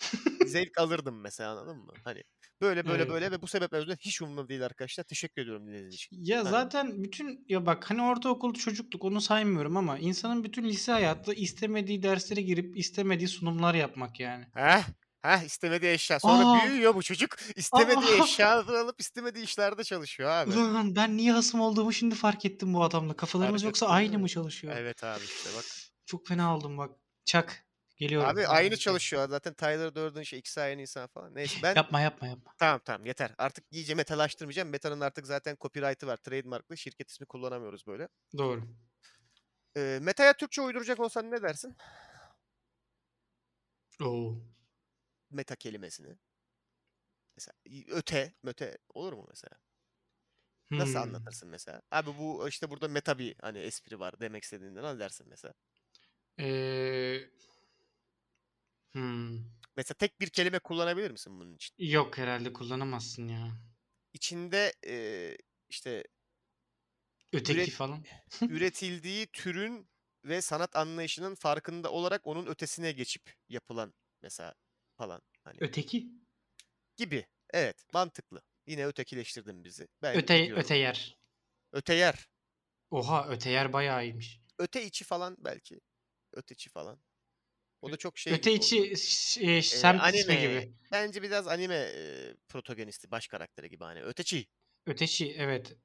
zevk alırdım mesela anladın mı? Hani böyle böyle Evet. böyle ve bu sebepler yüzünden hiç umurumda değil arkadaşlar. Teşekkür ediyorum dinlediğiniz için. Ya Hani. zaten bütün ya bak hani ortaokul çocukluk onu saymıyorum ama insanın bütün lise hayatı istemediği derslere girip istemediği sunumlar yapmak yani. Heh. Heh istemediği eşya. Sonra Aa. büyüyor bu çocuk. İstemediği Aa. eşyaları alıp istemediği (laughs) işlerde çalışıyor abi. Ulan ben niye hasım olduğumu şimdi fark ettim bu adamla. Kafalarımız Fark yoksa ettin aynı mi? mı çalışıyor? Evet abi işte bak. Çok fena oldum bak. Çak. Geliyorum. Abi aynı çalışıyor. Zaten Tyler Durden şey ikisi aynı insan falan. Neyse ben Yapma yapma yapma. tamam tamam yeter. Artık iyice metalaştırmayacağım. Meta'nın artık zaten copyright'ı var. Trademark'lı. Şirket ismi kullanamıyoruz böyle. Doğru. Ee, Meta'ya Türkçe uyduracak olsan ne dersin? Oo. Meta kelimesini. Mesela i- öte, möte olur mu mesela? Nasıl Hmm. anlatırsın mesela? Abi bu işte burada meta bir hani espri var demek istediğinden al dersin mesela. Ee, hmm. Mesela tek bir kelime kullanabilir misin bunun için? Yok herhalde kullanamazsın ya. İçinde e, işte Öteki Üret- falan. üretildiği türün ve sanat anlayışının farkında olarak onun ötesine geçip yapılan mesela falan hani Öteki? gibi. Evet, mantıklı. Yine ötekileştirdin bizi. Ben Öte, gidiyorum. öte yer. öte yer. Oha öte yer bayağı iyiymiş. Öte içi falan belki. Öte içi falan. O da çok şey. öte gibi oldu. Ee, içi şey, semt ismi anime. gibi. Bence biraz anime e, protagonisti, baş karakteri gibi hani. Öteci. Öteçi evet.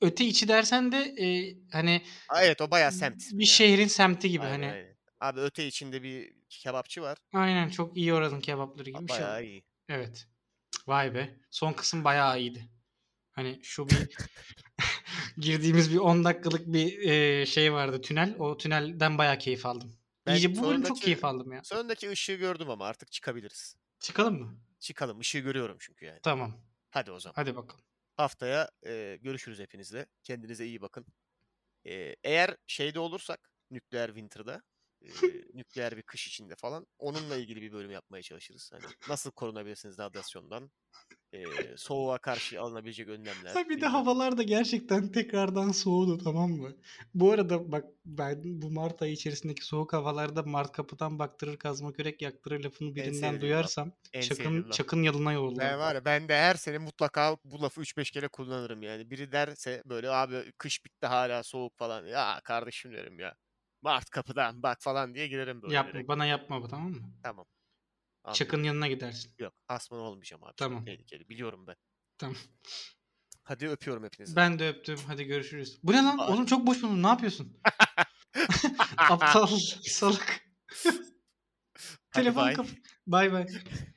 Öte içi dersen de e, hani Aa, evet o bayağı semt. ismi bir ya. şehrin semti gibi Aynen, hani. aynen. Abi öte içinde bir kebapçı var. Aynen çok iyi oranın kebapları gibi bir şey. Bayağı iyi. Evet. Vay be. Son kısım bayağı iyiydi. Hani şu (laughs) bir girdiğimiz bir 10 dakikalık bir e, şey vardı tünel. O tünelden bayağı keyif aldım. Ben İyice bu bölüm çok sonraki- keyif aldım ya. Sondaki ışığı gördüm ama artık çıkabiliriz. Çıkalım mı? Çıkalım. Işığı görüyorum çünkü yani. Tamam. Hadi o zaman. Hadi bakalım. Haftaya e, görüşürüz hepinizle. Kendinize iyi bakın. E, eğer şeyde olursak nükleer winter'da e, (laughs) nükleer bir kış içinde falan onunla ilgili bir bölüm yapmaya çalışırız. Hani nasıl korunabilirsiniz radyasyondan? E, soğuğa karşı alınabilecek önlemler. Ha bir de bilmem. havalar da gerçekten tekrardan soğudu tamam mı? Bu arada bak ben bu Mart ayı içerisindeki soğuk havalarda Mart kapıdan baktırır kazma kürek yaktırır lafını birinden sevdiğim laf. duyarsam En sevdiğim çakın, laf. çakın yalına yollarım. Ben var ya ben de her sene mutlaka bu lafı 3-5 kere kullanırım yani. Biri derse böyle abi kış bitti hala soğuk falan. Ya kardeşim derim ya. Mart kapıdan bak falan diye girerim böyle. yapma direkt. bana yapma bu tamam mı? Tamam. Anlıyorum. Çakın yanına gidersin. Yok asman olmayacağım abi. Tamam. Tamam. Tehlikeli biliyorum ben. Tamam. Hadi öpüyorum hepinizi. Ben de öptüm. Hadi görüşürüz. Bu ne lan? Hadi. Oğlum çok boş bulundum. Ne (laughs) yapıyorsun? (laughs) Aptal salak. Hadi Telefon bye. kapat. Bay bay.